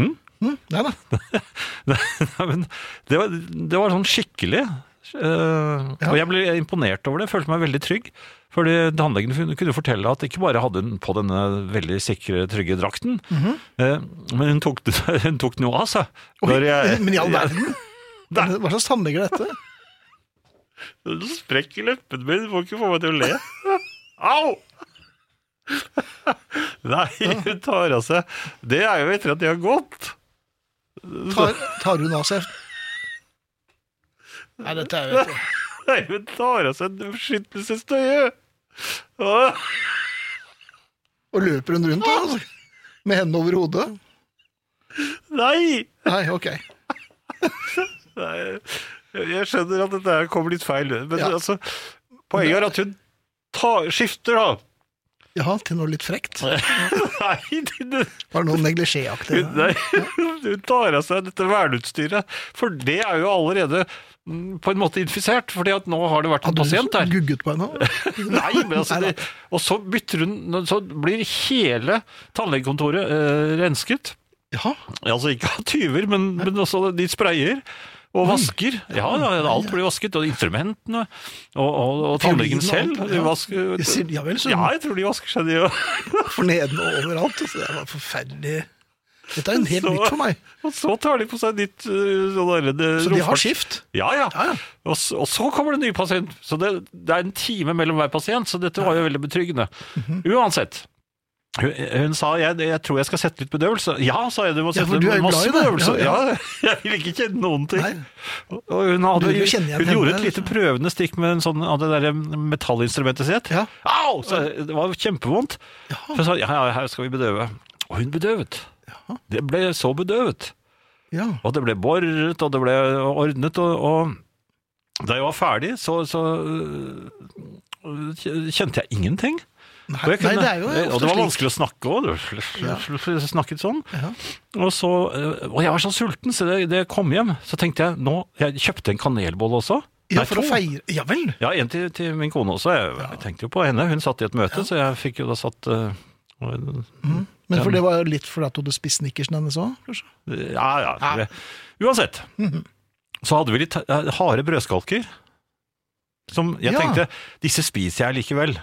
Hm? Hm, Nei da. (laughs) Nei, men det var, det var sånn skikkelig. eh, Ja. Og jeg ble imponert over det, følte meg veldig trygg. Fordi tannlegen fun- kunne fortelle at ikke bare hadde hun på denne veldig sikre, trygge drakten, eh, men hun tok, den- (laughs) hun tok den jo av seg. Mhm. Oi, Når jeg- (laughs) Men i all verden! Hva slags tannlege er dette? Du sprekker leppen min, du får ikke få meg til å (laughs) le. Au! (laughs) Nei, hun tar av seg Det er jo etter at de har gått. Tar, tar hun av seg Nei, dette er jo Nei, hun tar av seg beskyttelsestøyet. Åh. Og løper hun rundt, da? Altså. Med hendene over hodet? Nei! Nei, ok. Nei, jeg skjønner at dette her kommer litt feil, men Ja. altså, poenget er at hun tar, skifter, da. (laughs) Jaha, til noe litt frekt? Nei, hun, Var det noe neglisjéaktig? hun, nei, (laughs) hun tar av seg dette verneutstyret, for det er jo allerede mm, på en måte infisert, fordi at nå har det vært en pasient der. gugget på henne? (laughs) Nei, (laughs) men altså, det, og så bytter hun, så blir hele tannlegekontoret eh, rensket. Ja, Altså ikke av tyver, men, men også de sprayer og vasker. Ja, ja, ja, alt blir vasket, og instrumentene, og, og, og tannlegen Fiolin og selv. alt, de ja. vasker- Jeg sier- ja vel, så- Ja, jeg tror de vasker seg, de òg. for neden og overalt. Altså, det var forferdelig Dette er jo en helt Så- nytt for meg. Og så tar de på seg nytt øh, sånn derre det- Så de har romfart. skift? Ja, ja. Ja, ja. Og, så, og så kommer det en ny pasient. Mhm. Så det, det er en time mellom hver pasient, så dette var jo veldig betryggende. Uansett. Hun, hun sa jeg, jeg tror jeg skal sette litt bedøvelse. Ja, sa jeg, du må Ja, sette for du er jo masse glad i det. bedøvelse. Ja, (laughs) Ja, Jeg vil ikke kjenne noen ting. Nei. Og hun Du hadde, vil jo kjenne igjen hun gjorde et henne, lite prøvende stikk med en sånn, av det der metallinstrumentet sitt. Ja. Au! Så eh, det var kjempevondt. Så jeg sa ja, ja, her skal vi bedøve. Og hun bedøvet. Det ble så bedøvet. Ja. Og det ble boret, og det ble ordnet, og, og da jeg var ferdig, så, så øh, kjente jeg ingenting. Nei, Og, jeg kunne, nei, det er jo og det var ofte slik. vanskelig å snakke òg. Ja. Snakket sånn. Ja. Og, så, øh, og jeg var så sulten, så det, det jeg kom hjem, så tenkte jeg nå Jeg kjøpte en kanelbolle også. Ja, Nei, for å to. feire Ja vel. Ja, en til, til min kone også. Jeg, jeg tenkte jo på henne. Hun satt i et møte, så jeg fikk jo da satt øh, Men for det var litt fordi at du hadde spist snickersen hennes òg, kanskje? Ja, ja. det- Uansett. Så hadde vi litt eh, harde brødskalker. Som jeg Ja. tenkte Disse spiser jeg likevel.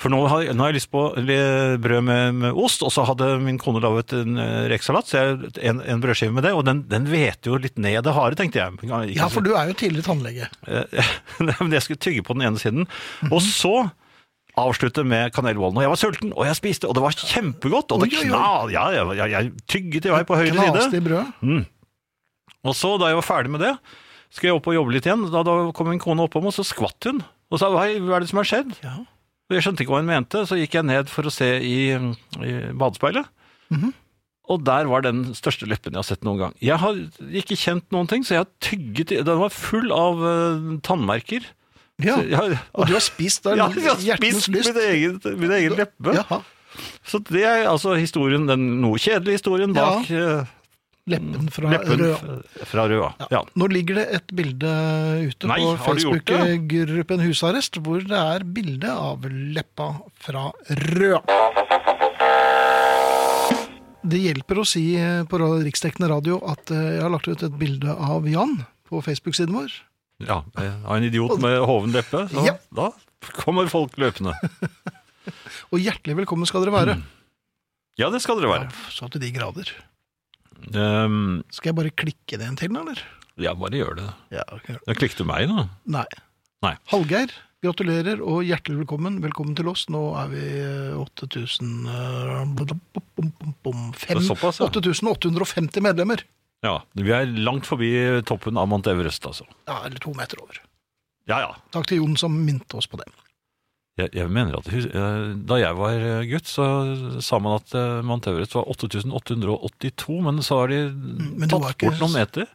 For nå har, nå har jeg lyst på li- brød med, med ost, og så hadde min kone laget en eh, rekesalat, så jeg, en, en brødskive med det, og den, den vet jo litt ned det harde, tenkte jeg. Men ikke Ja, så- for du er jo tidligere tannlege. Eh, (laughs) Nei, men jeg skulle tygge på den ene siden. Mhm. Og så avslutte med kanelbollen. Og jeg var sulten, og jeg spiste, og det var kjempegodt. Og det Oi, oi, oi. kna, ja, jeg, jeg, jeg tygget i vei på høyre Knaste side. i brødet. Og så, da jeg var ferdig med det, skulle jeg opp og jobbe litt igjen. Da, da kom min kone oppom, og så skvatt hun. Og sa hei, hva er det som har skjedd? Ja. Og jeg skjønte ikke hva hun mente, så gikk jeg ned for å se i, i badespeilet. Mhm. Og der var den største leppen jeg har sett noen gang. Jeg har ikke kjent noen ting, så jeg har tygget i Den var full av eh, tannmerker. Ja. Så jeg har- (laughs) Og du har spist da Ja, jeg har hjertens spist lyst. min egen, min egen leppe. Jaha. Så det er altså historien, den noe kjedelige historien bak eh, Leppen fra leppen Røa. f- fra Røa. Ja. Nå ligger det et bilde ute Nei, på har du gjort det? Facebook-gruppen Husarrest, hvor det er bilde av leppa fra Røa. Det hjelper å si eh, på ra- riksdekkende radio at eh, jeg har lagt ut et bilde av Jan på Facebook-siden vår. Ja, eh, av en idiot med hoven leppe. Så, Ja. Da kommer folk (laughs) løpende. Og hjertelig velkommen skal dere Mm, være. Ja, det skal dere være. Så til de grader. Um, Skal jeg bare klikke det en til, eller? ja, bare gjør det. Ja, ok. Da klikket du meg, da. Nei. Nei. Hallgeir, gratulerer og hjertelig velkommen. Velkommen til oss. Nå er vi eh, 8000 eh, bom, bom, bom, bom, bom, fem- Det er såpass, ja. 8850 medlemmer. Ja, Vi er langt forbi toppen av Mount Everest, altså. Ja, eller to meter over. Ja, ja. Takk til Jon som minte oss på det. Jeg, jeg mener at hus- eh, Da jeg var eh, gutt, så sa man at eh, Mount Everest var 8882, men så har de men det tatt var ikke- bort noen (gasps) meter.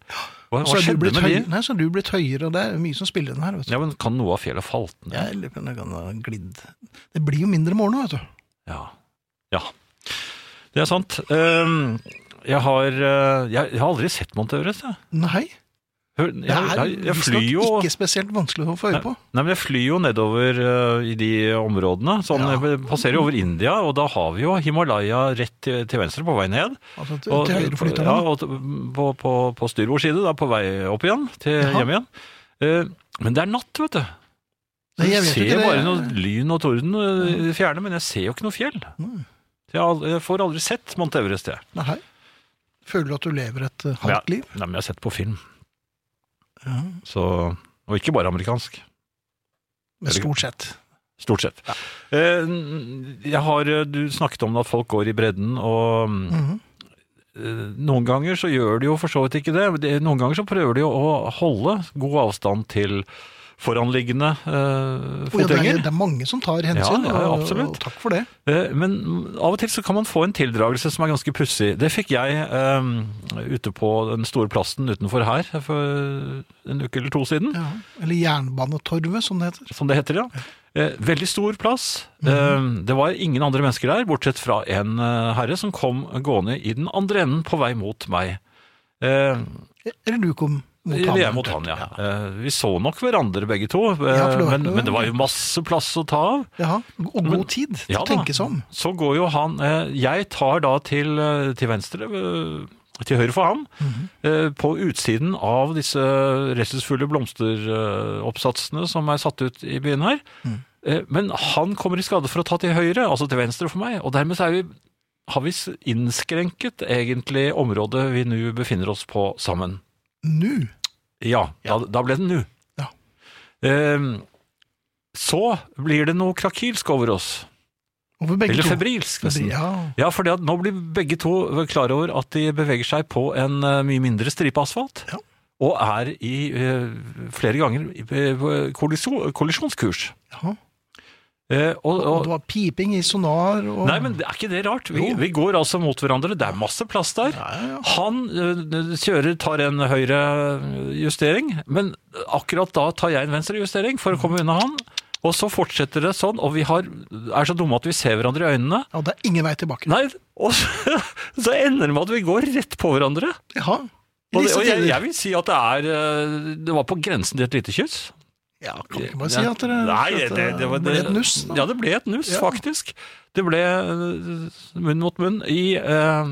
Hva, Så hva er du skjedde blitt med de? høy- Nei, så er du blitt høyere, og det er mye som spiller inn her, vet du. Ja, men Kan noe av fjellet falt ned? Jeg lurer på om det kan ha glidd. Det blir jo mindre morgen nå, vet du. Ja. ja. Det er sant. Ehm, jeg, har, eh, jeg, jeg har aldri sett Mount Everest. Jeg, Nei. Hør, jeg, Det er jeg, jeg visstnok flyr jo ikke spesielt vanskelig å få øye Nei, på. nei, men jeg flyr jo nedover eh, i de områdene. Sånn, Ja. Jeg passerer jo over India, og da har vi jo Himalaya rett til, til venstre på vei ned. Altså, til, Og, til høyre flyter ja, den. og t- på, på, på styrbord side, da, på vei opp igjen, til Jaha. hjem igjen. Eh, men det er natt, vet du. Nei, jeg vet ser ikke det. bare noe lyn og torden eh, i det fjerne, men jeg ser jo ikke noe fjell. Nei. Jeg, har aldri, jeg får aldri sett Mount Everest, jeg. Nei. Føler du at du lever et eh, Ja. halvt liv? Nei, men jeg har sett på film. Ja. Så, og ikke bare amerikansk. Men stort sett. Stort sett. Eh, Jeg har, eh, du snakket om at folk går i bredden, og Mhm. eh, noen ganger så gjør de jo for så vidt ikke det. men det- Noen ganger så prøver de jo å holde god avstand til foranliggende eh, Og ja, det, er, fotgjenger. det er mange som tar hensyn, Ja, ja, og- absolutt. og takk for det. Eh, Men av og til så kan man få en tildragelse som er ganske pussig. Det fikk jeg eh, ute på den store plassen utenfor her for en uke eller to siden. Ja. Eller Jernbanetorvet, som det heter. som det heter, ja. Eh, veldig stor plass. Mhm. Eh, det var ingen andre mennesker der, bortsett fra en eh, herre som kom gående i den andre enden på vei mot meg. Eh, E- Eller du kom mot eller jeg ham. mot han, ja. Eh, vi så nok hverandre begge to, eh, Ja, for det var ikke men, noe- men det var jo masse plass å ta av. Jaha. Og god tid til Ja å da. tenke seg om. Så går jo han eh, Jeg tar da til, eh, til venstre, eh, til høyre for ham, Mhm. eh, på utsiden av disse redselsfulle blomsteroppsatsene som er satt ut i byen her. Mm. Eh, Men han kommer i skade for å ta til høyre, altså til venstre for meg, og dermed så er vi har vi s- innskrenket egentlig området vi nå befinner oss på sammen? Nå. Ja, Da, da ble det nå. Ja. Eh, så blir det noe krakilsk over oss. Over begge Eller to. febrilsk, nesten. Ja. Ja, for nå blir begge to klar over at de beveger seg på en eh, mye mindre stripe asfalt. Ja. Og er i eh, flere ganger i- eh, kollisjon, kollisjonskurs. ja. Eh, og, Og og, det var piping i sonar og nei, men er ikke det rart? Vi, Jo. vi går altså mot hverandre. Det er masse plass der. ja, ja, ja. Han eh, kjører, tar en høyre eh, justering, men akkurat da tar jeg en venstre justering for å komme unna han. Og så fortsetter det sånn, og vi har, er så dumme at vi ser hverandre i øynene. ja, det er ingen vei tilbake. Nei, og så, (laughs) så ender det med at vi går rett på hverandre. Ja. I Og, det, disse og jeg, tider. jeg vil si at det er eh, Det var på grensen til et lite kyss. Ja, kan ikke bare si at dere Nei, at det, det, det var ble et nuss. da. Ja, det ble et nuss, Ja. faktisk. Det ble eh, munn mot munn i eh,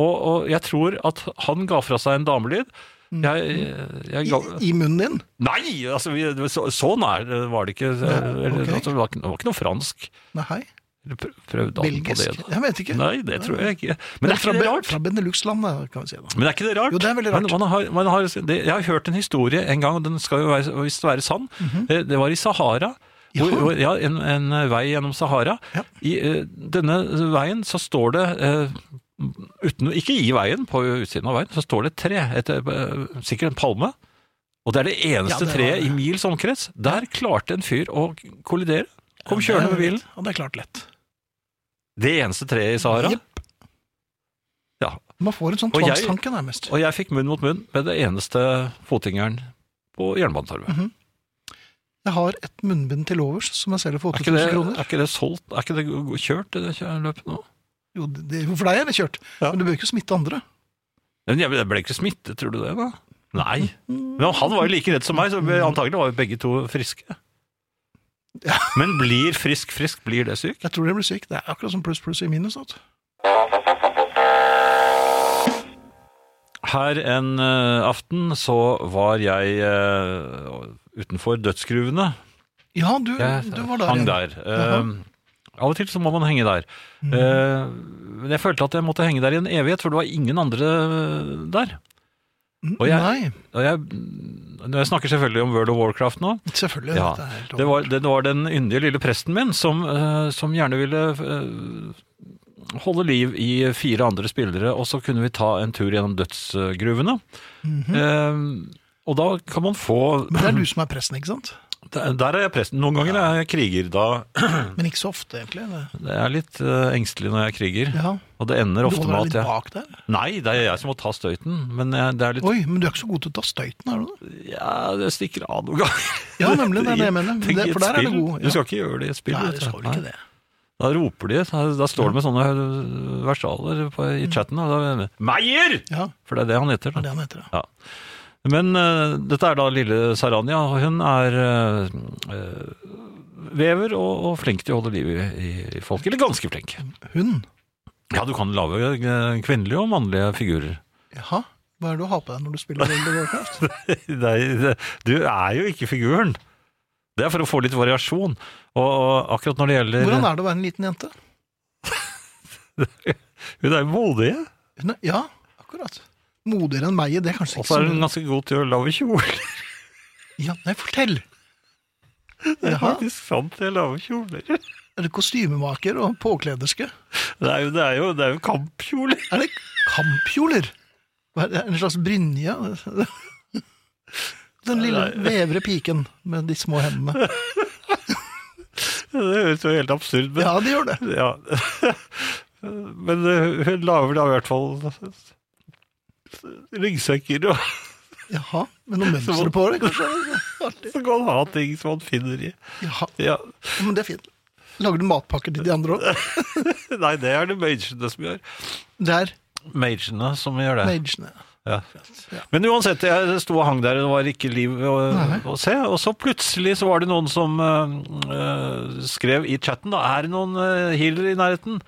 og, og jeg tror at han ga fra seg en damelyd. Jeg, jeg ga, Mm. I, I munnen din. nei, altså vi, det var så, så nær var det ikke. Eller, ok. altså, det, var, ikke- det var ikke noe fransk. Nei, Eller pr- Prøvde han på det? belgisk. da? Jeg vet ikke. Nei, det tror jeg ikke. Men Men det er fra, ikke det Be- rart. fra Benelux-landet, kan vi si. da. Men er ikke det rart? Jo, det er veldig rart. Men man har, man har, det, jeg har hørt en historie en gang, og den skal jo være, visst være sann. Eh, det, det var i Sahara. Mhm. Ja. Hvor, hvor, ja, en, en eh, vei gjennom Sahara. Ja. I eh, denne veien så står det eh, uten, Ikke i veien, på utsiden av veien, så står det et tre. Et, eh, sikkert en palme. Og det er det eneste det var treet i det. mils omkrets. Der klarte en fyr å kollidere. Kom kjørende med bilen. Ja, det er klart lett. Det eneste treet i Sahara. Jepp. Ja. Man får en sånn Og jeg- tvangstanke, nærmest. Og jeg fikk munn mot munn med det eneste fotgjengeren på Jernbanetorget. Jeg har et munnbind til overs som jeg selger for Er ikke, det, 8000 kroner. er ikke det solgt? Er ikke det g- kjørt, det kjø- løpet nå? Jo, det, det- for deg er det kjørt, Ja. men du bør ikke smitte andre. Men jeg jeg ble ikke smittet, tror du det? da? Nei. Men han var jo like redd som meg, så vi- antagelig var jo begge to friske. Men blir frisk frisk, blir det syk? Jeg tror det blir syk. Det er akkurat som pluss, pluss i minus. altså. At. Her en eh, aften så var jeg eh, utenfor dødsgruvene. Ja, du, Jeg du var der. igjen. hang der. Eh, av og til så må man henge der. Mm. Eh, men jeg følte at jeg måtte henge der i en evighet, for det var ingen andre eh, der. Og jeg, Mm, Nei, og jeg, når jeg snakker selvfølgelig om World of Warcraft nå. selvfølgelig. Ja, dette er helt det var, det var den yndige lille presten min som, eh, som gjerne ville eh, holde liv i fire andre spillere, og så kunne vi ta en tur gjennom dødsgruvene. Eh, og da kan man få Mhm. Men det er du som er presten, ikke sant? (clears throat) Der der er jeg presten. Noen ganger er jeg kriger. Da Mm. Men ikke så ofte, egentlig. Det. Jeg er litt eh, engstelig når jeg kriger, Ja. og det ender Du ofte holder med deg at litt jeg bak der. Nei, det er jeg som må ta støyten, men jeg, det er litt Oi, men du er ikke så god til å ta støyten, er du det? Ja, det stikker av noen ganger. Ja, nemlig, det er det jeg mener. (laughs) Tenk, Det- i for der et er det spill. god, ja. Du skal ikke gjøre det i et spill. Nei, vet du du. skal vel ikke Nei. det. Da roper de, da, da står det med sånne øh, versaler på, i chatten. Og da, Meier! Mm. Ja, For det er det han heter. det er Da. det han heter. ja. Ja. Men øh, dette er da lille Saranya. og Hun er øh, øh, vever og, og flink til å holde liv i, i, i folk. Eller ganske flink. Hun. Ja, du kan lage øh, kvinnelige og mannlige figurer. Jaha. Hva er det du har på deg når du spiller World of Warcraft? (laughs) Nei, det- du er jo ikke figuren. Det er for å få litt variasjon. Og, og akkurat når det gjelder Hvordan er det å være en liten jente? Hun er jo modig, Hun er, ja, akkurat. Modigere enn meg, det er kanskje og ikke så så er hun ganske god til å lage kjoler. (laughs) Ja, nei, fortell! Det er Jaha, faktisk sant til å lage kjoler. er det kostymemaker og påklederske? Det er jo, det er jo, det er jo kampkjoler. (laughs) Er det kampkjoler? Hva er det, En slags brynje? (laughs) Den lille vevre piken med de små hendene. Det høres jo helt absurd ut. Ja, det gjør det. Ja. (laughs) Men eh, hun lager da i hvert fall ryggsekker, og (laughs) Jaha, med noe mønster på det, kanskje? så kan han ha ting som han finner i. Jaha, Ja. men det er fint. Lager du matpakker til de andre òg? (laughs) Nei, det er det magene som gjør. Der. Magene som gjør det. Magene. Ja. Ja. Men uansett, jeg sto og hang der, og det var ikke liv å, Nei. å se. Og så plutselig så var det noen som eh, eh, skrev i chatten da, er det noen uh, healer i nærheten?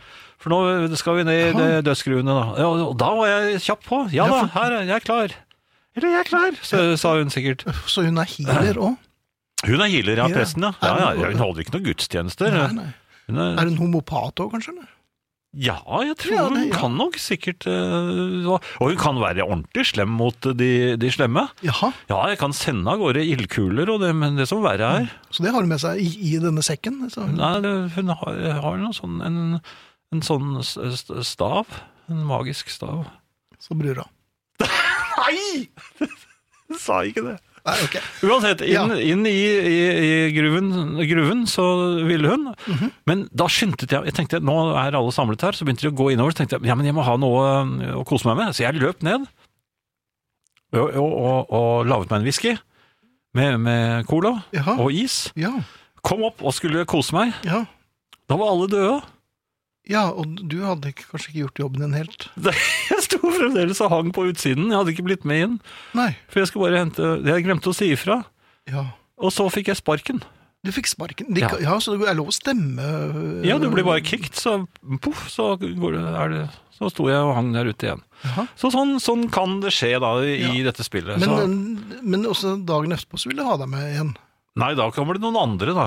For nå eh, skal vi ned i Jaha. det dødsgruene da. Ja, og da var jeg kjapp på. Ja da, Ja, her er jeg er klar. Eller jeg er klar, så, sa hun sikkert. Så hun er healer òg? Hun er healer, ja, presten, ja. Er ja, hun- ja hun holder ikke noen gudstjenester. Er Hun er, hun homopat òg, kanskje? eller? Ja, jeg tror Ja, det- hun ja. kan nok sikkert eh, Og og hun kan være ordentlig slem mot eh, de, de slemme. Jaha, Ja, jeg kan sende av gårde ildkuler og det, men det som verre er så det har hun med seg i, i denne sekken? Så. Nei, det, hun har, har noe sånn, en, en sånn s- s- stav. En magisk stav. Så brura. Nei! Hun sa ikke det. Nei, ok. Uansett, inn, Ja. inn i, i, i gruven, gruven så ville hun. Men da skyndte jeg Jeg tenkte, nå er alle samlet her, så begynte de å gå innover. Så tenkte jeg ja, men jeg må ha noe øh, å kose meg med. Så jeg løp ned og, og, og, og laget meg en whisky med, med cola Jaha. og is. Ja, Kom opp og skulle kose meg. ja. Da var alle døde. (laughs) ja, og du hadde ikke- kanskje ikke gjort jobben din helt? Jeg sto fremdeles og hang på utsiden. Jeg hadde ikke blitt med inn. Nei. For jeg skulle bare hente Jeg glemte å si ifra. Ja. Og så fikk jeg sparken. Du fikk sparken. De, Ja. ja. ja, så det er lov å stemme? Ja, du blir bare kicked, så poff, så går det, er det Så sto jeg og hang der ute igjen. Jaha. Så sånn, sånn kan det skje da i dette spillet. øh, Men, så, men også dagen etterpå så vil de ha deg med igjen. nei, da kommer det noen andre, da.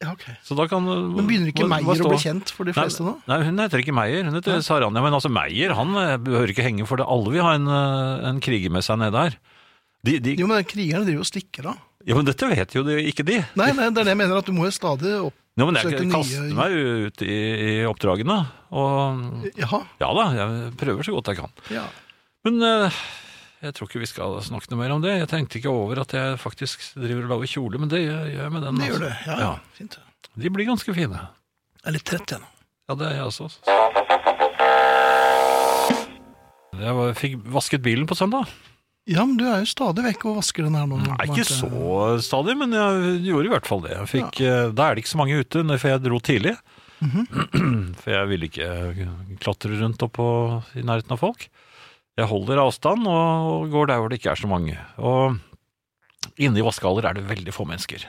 Ja, ok. Så da kan Men begynner ikke Meyer å bli kjent for de fleste nå? Nei, hun heter ikke Meyer, hun heter Saranja. Men altså, Meyer han eh, behøver ikke henge, for det. alle vil ha en, eh, en kriger med seg nede der. De, de, Jo, men krigerne driver og stikker av. ja, men dette vet jo de, ikke de. Nei, nei, det er det jeg mener, at du må jo stadig opp... Nå, men jeg Søker nye- kaster meg jo ut i, i oppdragene, og Jaha, ja da, jeg prøver så godt jeg kan. ja. Men eh, jeg tror ikke vi skal snakke noe mer om det. Jeg tenkte ikke over at jeg faktisk driver og lager kjole, men det gjør jeg med den. Det altså. gjør det. Ja, ja. Fint. De blir ganske fine. Jeg er litt trett jeg nå. Ja, det er jeg også. altså. Jeg var, fikk vasket bilen på søndag. Ja, men du er jo stadig vekk og vasker den her nå. Nei, Marte. ikke så stadig, men jeg gjorde i hvert fall det. Jeg fikk, eh, Da er det ikke så mange ute, når- for jeg dro tidlig. (clears throat) For jeg ville ikke eh, klatre rundt oppå i nærheten av folk. Jeg holder avstand og går der hvor det ikke er så mange. Og inne i vaskehaller er det veldig få mennesker.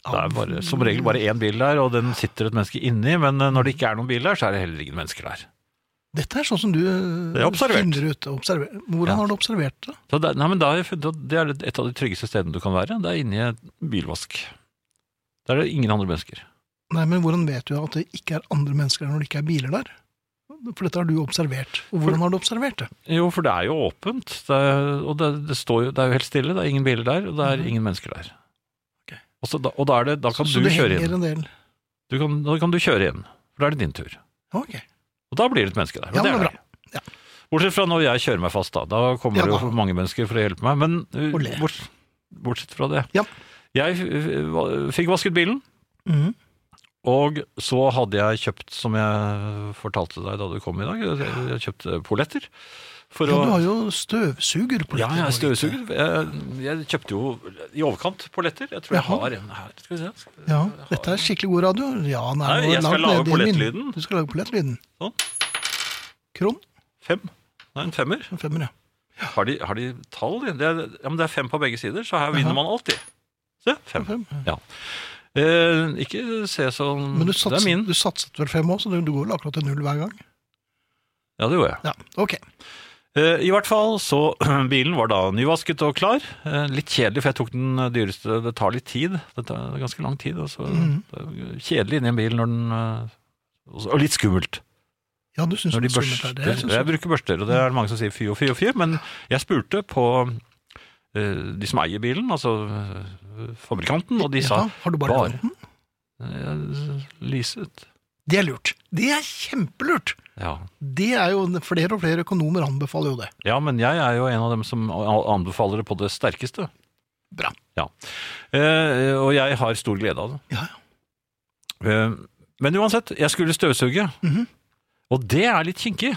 Det er bare, som regel bare én bil der, og den sitter et menneske inni. Men eh, når det ikke er noen bil der, så er det heller ingen mennesker der. Dette er sånn som du Det er observert. finner ut. Observer. Hvordan Ja. har du observert det? Så det, nei, men da har jeg funnet at det er et av de tryggeste stedene du kan være. Det er inni en bilvask. Der er det ingen andre mennesker. Nei, men hvordan vet du at det ikke er andre mennesker der når det ikke er biler der? For dette har du observert. Og hvordan har du observert det? Jo, for det er jo åpent, det er, og det, det, står jo, det er jo helt stille, det er ingen biler der, og det er Mhm. ingen mennesker der. Ok. Og, så, da, og da, er det, da kan så du det kjøre henger inn. en del. Du kan, da kan du kjøre inn, for da er det din tur. Ok. Og da blir det et menneske der. og Ja, men det er deg. Bortsett fra når jeg kjører meg fast, da. Da kommer Ja, det jo da. for mange mennesker for å hjelpe meg. Men uh, Og le. borts, bortsett fra det. Ja. Jeg uh, va- fikk vasket bilen, Mhm. og så hadde jeg kjøpt, som jeg fortalte deg da du kom i dag, jeg- jeg kjøpte polletter. For Ja, å, du har jo støvsuger på Ja, dette jeg er nå, støvsuger. Jeg, jeg kjøpte jo i overkant polletter. Jeg tror jeg Jaha. har en her. Skal vi se. Skal vi- Ja, jeg har- dette er skikkelig god radio. Ja, den er Nei, nå jeg skal langt nede lage i min. pollettlyden. Du skal lage pollettlyden. Sånn. Kron, Fem. Nei, en femmer. en femmer, ja. Har de, har de tall, de? Det er, ja, men det er fem på begge sider, så her vinner Jaha. man alltid. Se, En fem. fem. Eh, ikke se sånn Men du Det er satset, min. du satset vel fem år, så du, du går vel akkurat til null hver gang? Ja, det gjorde jeg. Ja, ok. Eh, I hvert fall, så (clears throat) bilen var da nyvasket og klar. Eh, litt kjedelig, for jeg tok den dyreste. Det tar litt tid. Det tar ganske lang tid. Og så, Mhm. det er kjedelig inni en bil når den eh, Og så- og litt skummelt. Ja, du syns Når de det er skummelt her. børster, Det er- jeg, synes jeg- bruker børster, og det er det mange som sier fy og fy og fy, men jeg spurte på eh, de som eier bilen, altså eh, fabrikanten, og de sa Ja, har du bare, bare. lånt den? eh, leaset. Det er lurt. Det er kjempelurt! Ja. Det er jo, Flere og flere økonomer anbefaler jo det. ja, men jeg er jo en av dem som a- anbefaler det på det sterkeste. Bra. Ja. Eh, og jeg har stor glede av det. Ja, ja. Eh, Men uansett, jeg skulle støvsuge. Mhm. Og det er litt kinkig.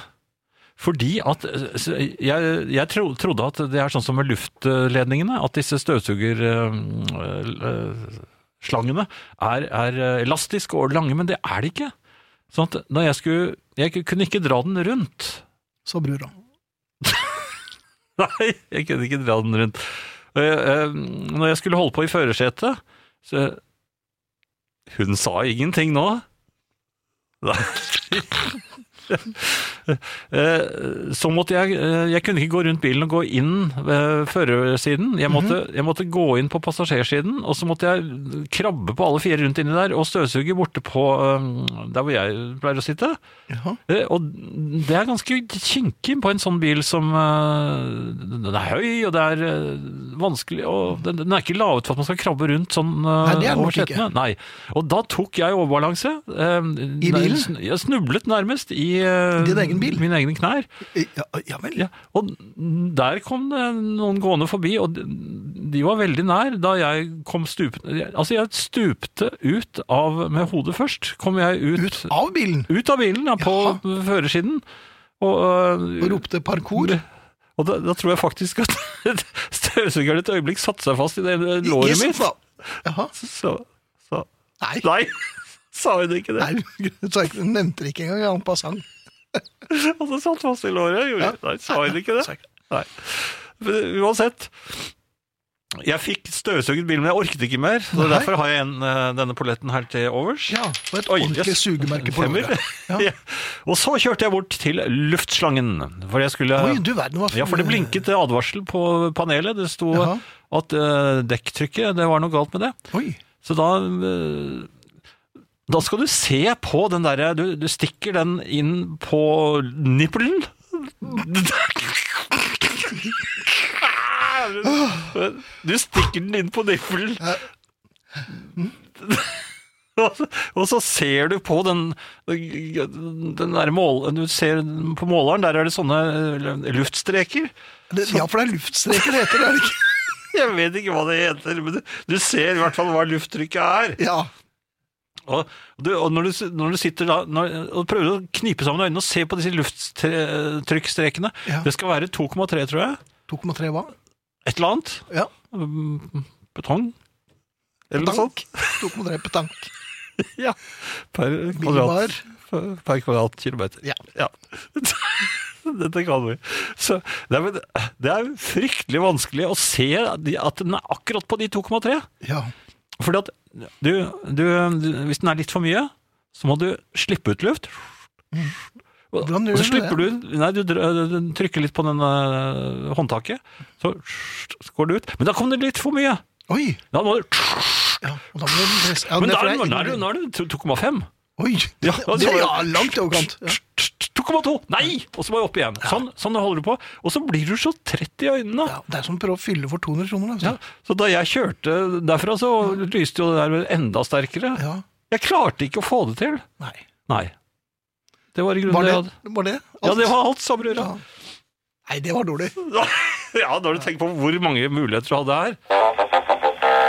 Fordi at eh, s- Jeg, jeg tro, trodde at det er sånn som med luftledningene, at disse eh, støvsugerslangene er, er elastiske og lange, men det er det ikke. Sånn at da jeg skulle Jeg kunne ikke dra den rundt. Sa brura. (laughs) Nei, jeg kunne ikke dra den rundt. Og jeg, eh, Når jeg skulle holde på i førersetet, så Hun sa ingenting nå. Nei. (laughs) Eh, Så måtte jeg eh, Jeg kunne ikke gå rundt bilen og gå inn eh, førersiden. Jeg måtte, jeg måtte gå inn på passasjersiden, og så måtte jeg krabbe på alle fire rundt inni der og støvsuge borte på eh, der hvor jeg pleier å sitte. Jaha. Eh, Og det er ganske kinkig på en sånn bil som eh, Den er høy, og det er eh, vanskelig og Den, den er ikke laget for at man skal krabbe rundt sånn eh, Nei, det er den over nok ikke. setene. Nei. Og da tok jeg overbalanse. I I bilen? Jeg snublet nærmest i eh, Din egen bil? mine egne knær. Ja, ja vel. Ja, og der kom det noen gående forbi, og de- de var veldig nær da jeg kom stupende Altså, jeg stupte ut av Med hodet først kom jeg Ut av bilen! ut av bilen, ja, på førersiden. Og, øh, Og ropte parkour. og da, da tror jeg faktisk at (laughs) støvsugeren et øyeblikk satte seg fast i det ene låret Yes, mitt. da. Jaha. Så, så Nei. Nei, (laughs) sa hun ikke det? Nei, så jeg nevnte det ikke engang en passant. Og så satt fast i låret. Gjorde, Nei, sa hun ikke sa det? Nei. Men uansett. Jeg fikk støvsuget bilen, men jeg orket ikke mer. Så Nei. derfor har jeg en, øh, denne polletten her til overs. Ja, og et Oi, ordentlig yes. sugemerke på Femmer. låret. Ja. (laughs) Ja. Og så kjørte jeg bort til luftslangen, for jeg skulle Oi, du verden hva Ja, for det blinket advarsel på panelet. Det sto Jaha. at eh, dekktrykket, det var noe galt med det. Oi. Så da eh, Da skal du se på den derre du, du stikker den inn på nippelen. (laughs) Du stikker den inn på nippelen. (laughs) Og så- Og så ser du på den, den der mål, Du ser på måleren, der er det sånne eh, luftstreker. Det, ja, for det er luftstreker det heter, er det ikke? (laughs) Jeg vet ikke hva det heter, men du, du ser i hvert fall hva lufttrykket er. Ja. Og, du, og når, du, s- når du sitter da når, og prøver å knipe sammen øynene og se på disse lufttrykkstrekene Ja. Det skal være 2,3, tror jeg. 2,3 hva? Et eller annet. Ja. Mm, Betong. Eller noe sånt. Petank. 2,3 petank. Ja. Per Minibar. kvadrat. Per kvadratkilometer. Ja. (laughs) Dette kan vi. Så, nei, men, det er fryktelig vanskelig å se de- at den er akkurat på de 2,3. Ja. Fordi at du, du, du, hvis den er litt for mye, så må du slippe ut luft. Og, Hvordan gjør og du det? så slipper du Nei, du, dr- du trykker litt på den eh, håndtaket, så går det ut. Men da kom det litt for mye! Oi. Da må du, Ja, og da må du presse. Ja, men det da for er jeg- det- nå er det- nå er det 2,5. Oi. Ja, Ja, (laughs) og det, så- ja langt i overkant. Ja. 2,2! Nei! Og så må jeg opp igjen. Sånn, sånn holder du på. Og så blir du så trett i øynene. Ja, det er som å prøve å fylle for 200 kroner. Ja, Altså. så da jeg kjørte derfra, så lyste jo det der enda sterkere. Ja. Jeg klarte ikke å få det til. Nei. Nei. Det var i grunnen Var det det, jeg hadde. var det Ja, alt? det var alt sammen, Røra. Ja. Nei, det var dårlig. (laughs) Ja, når du tenker på hvor mange muligheter du hadde her.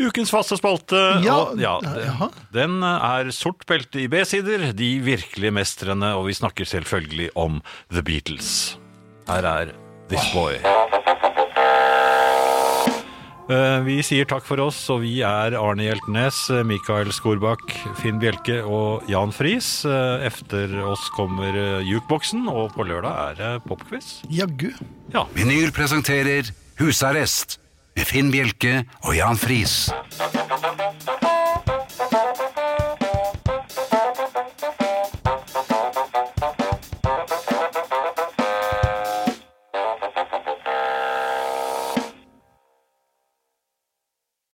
Ukens faste spalte, Ja, og, ja, ja, den- jaha. den er sort belte i B-sider, de virkelige mestrene, og vi snakker selvfølgelig om The Beatles. Her er This Boy. Eh, Vi sier takk for oss, og vi er Arne Hjeltnes, eh, Mikael Skorbakk, Finn Bjelke og Jan Friis. Eh, Efter oss kommer eh, jukeboksen, og på lørdag er det popquiz. Jaggu. Ja. Vinyl presenterer Husarrest med Finn Bjelke og Jan Friis.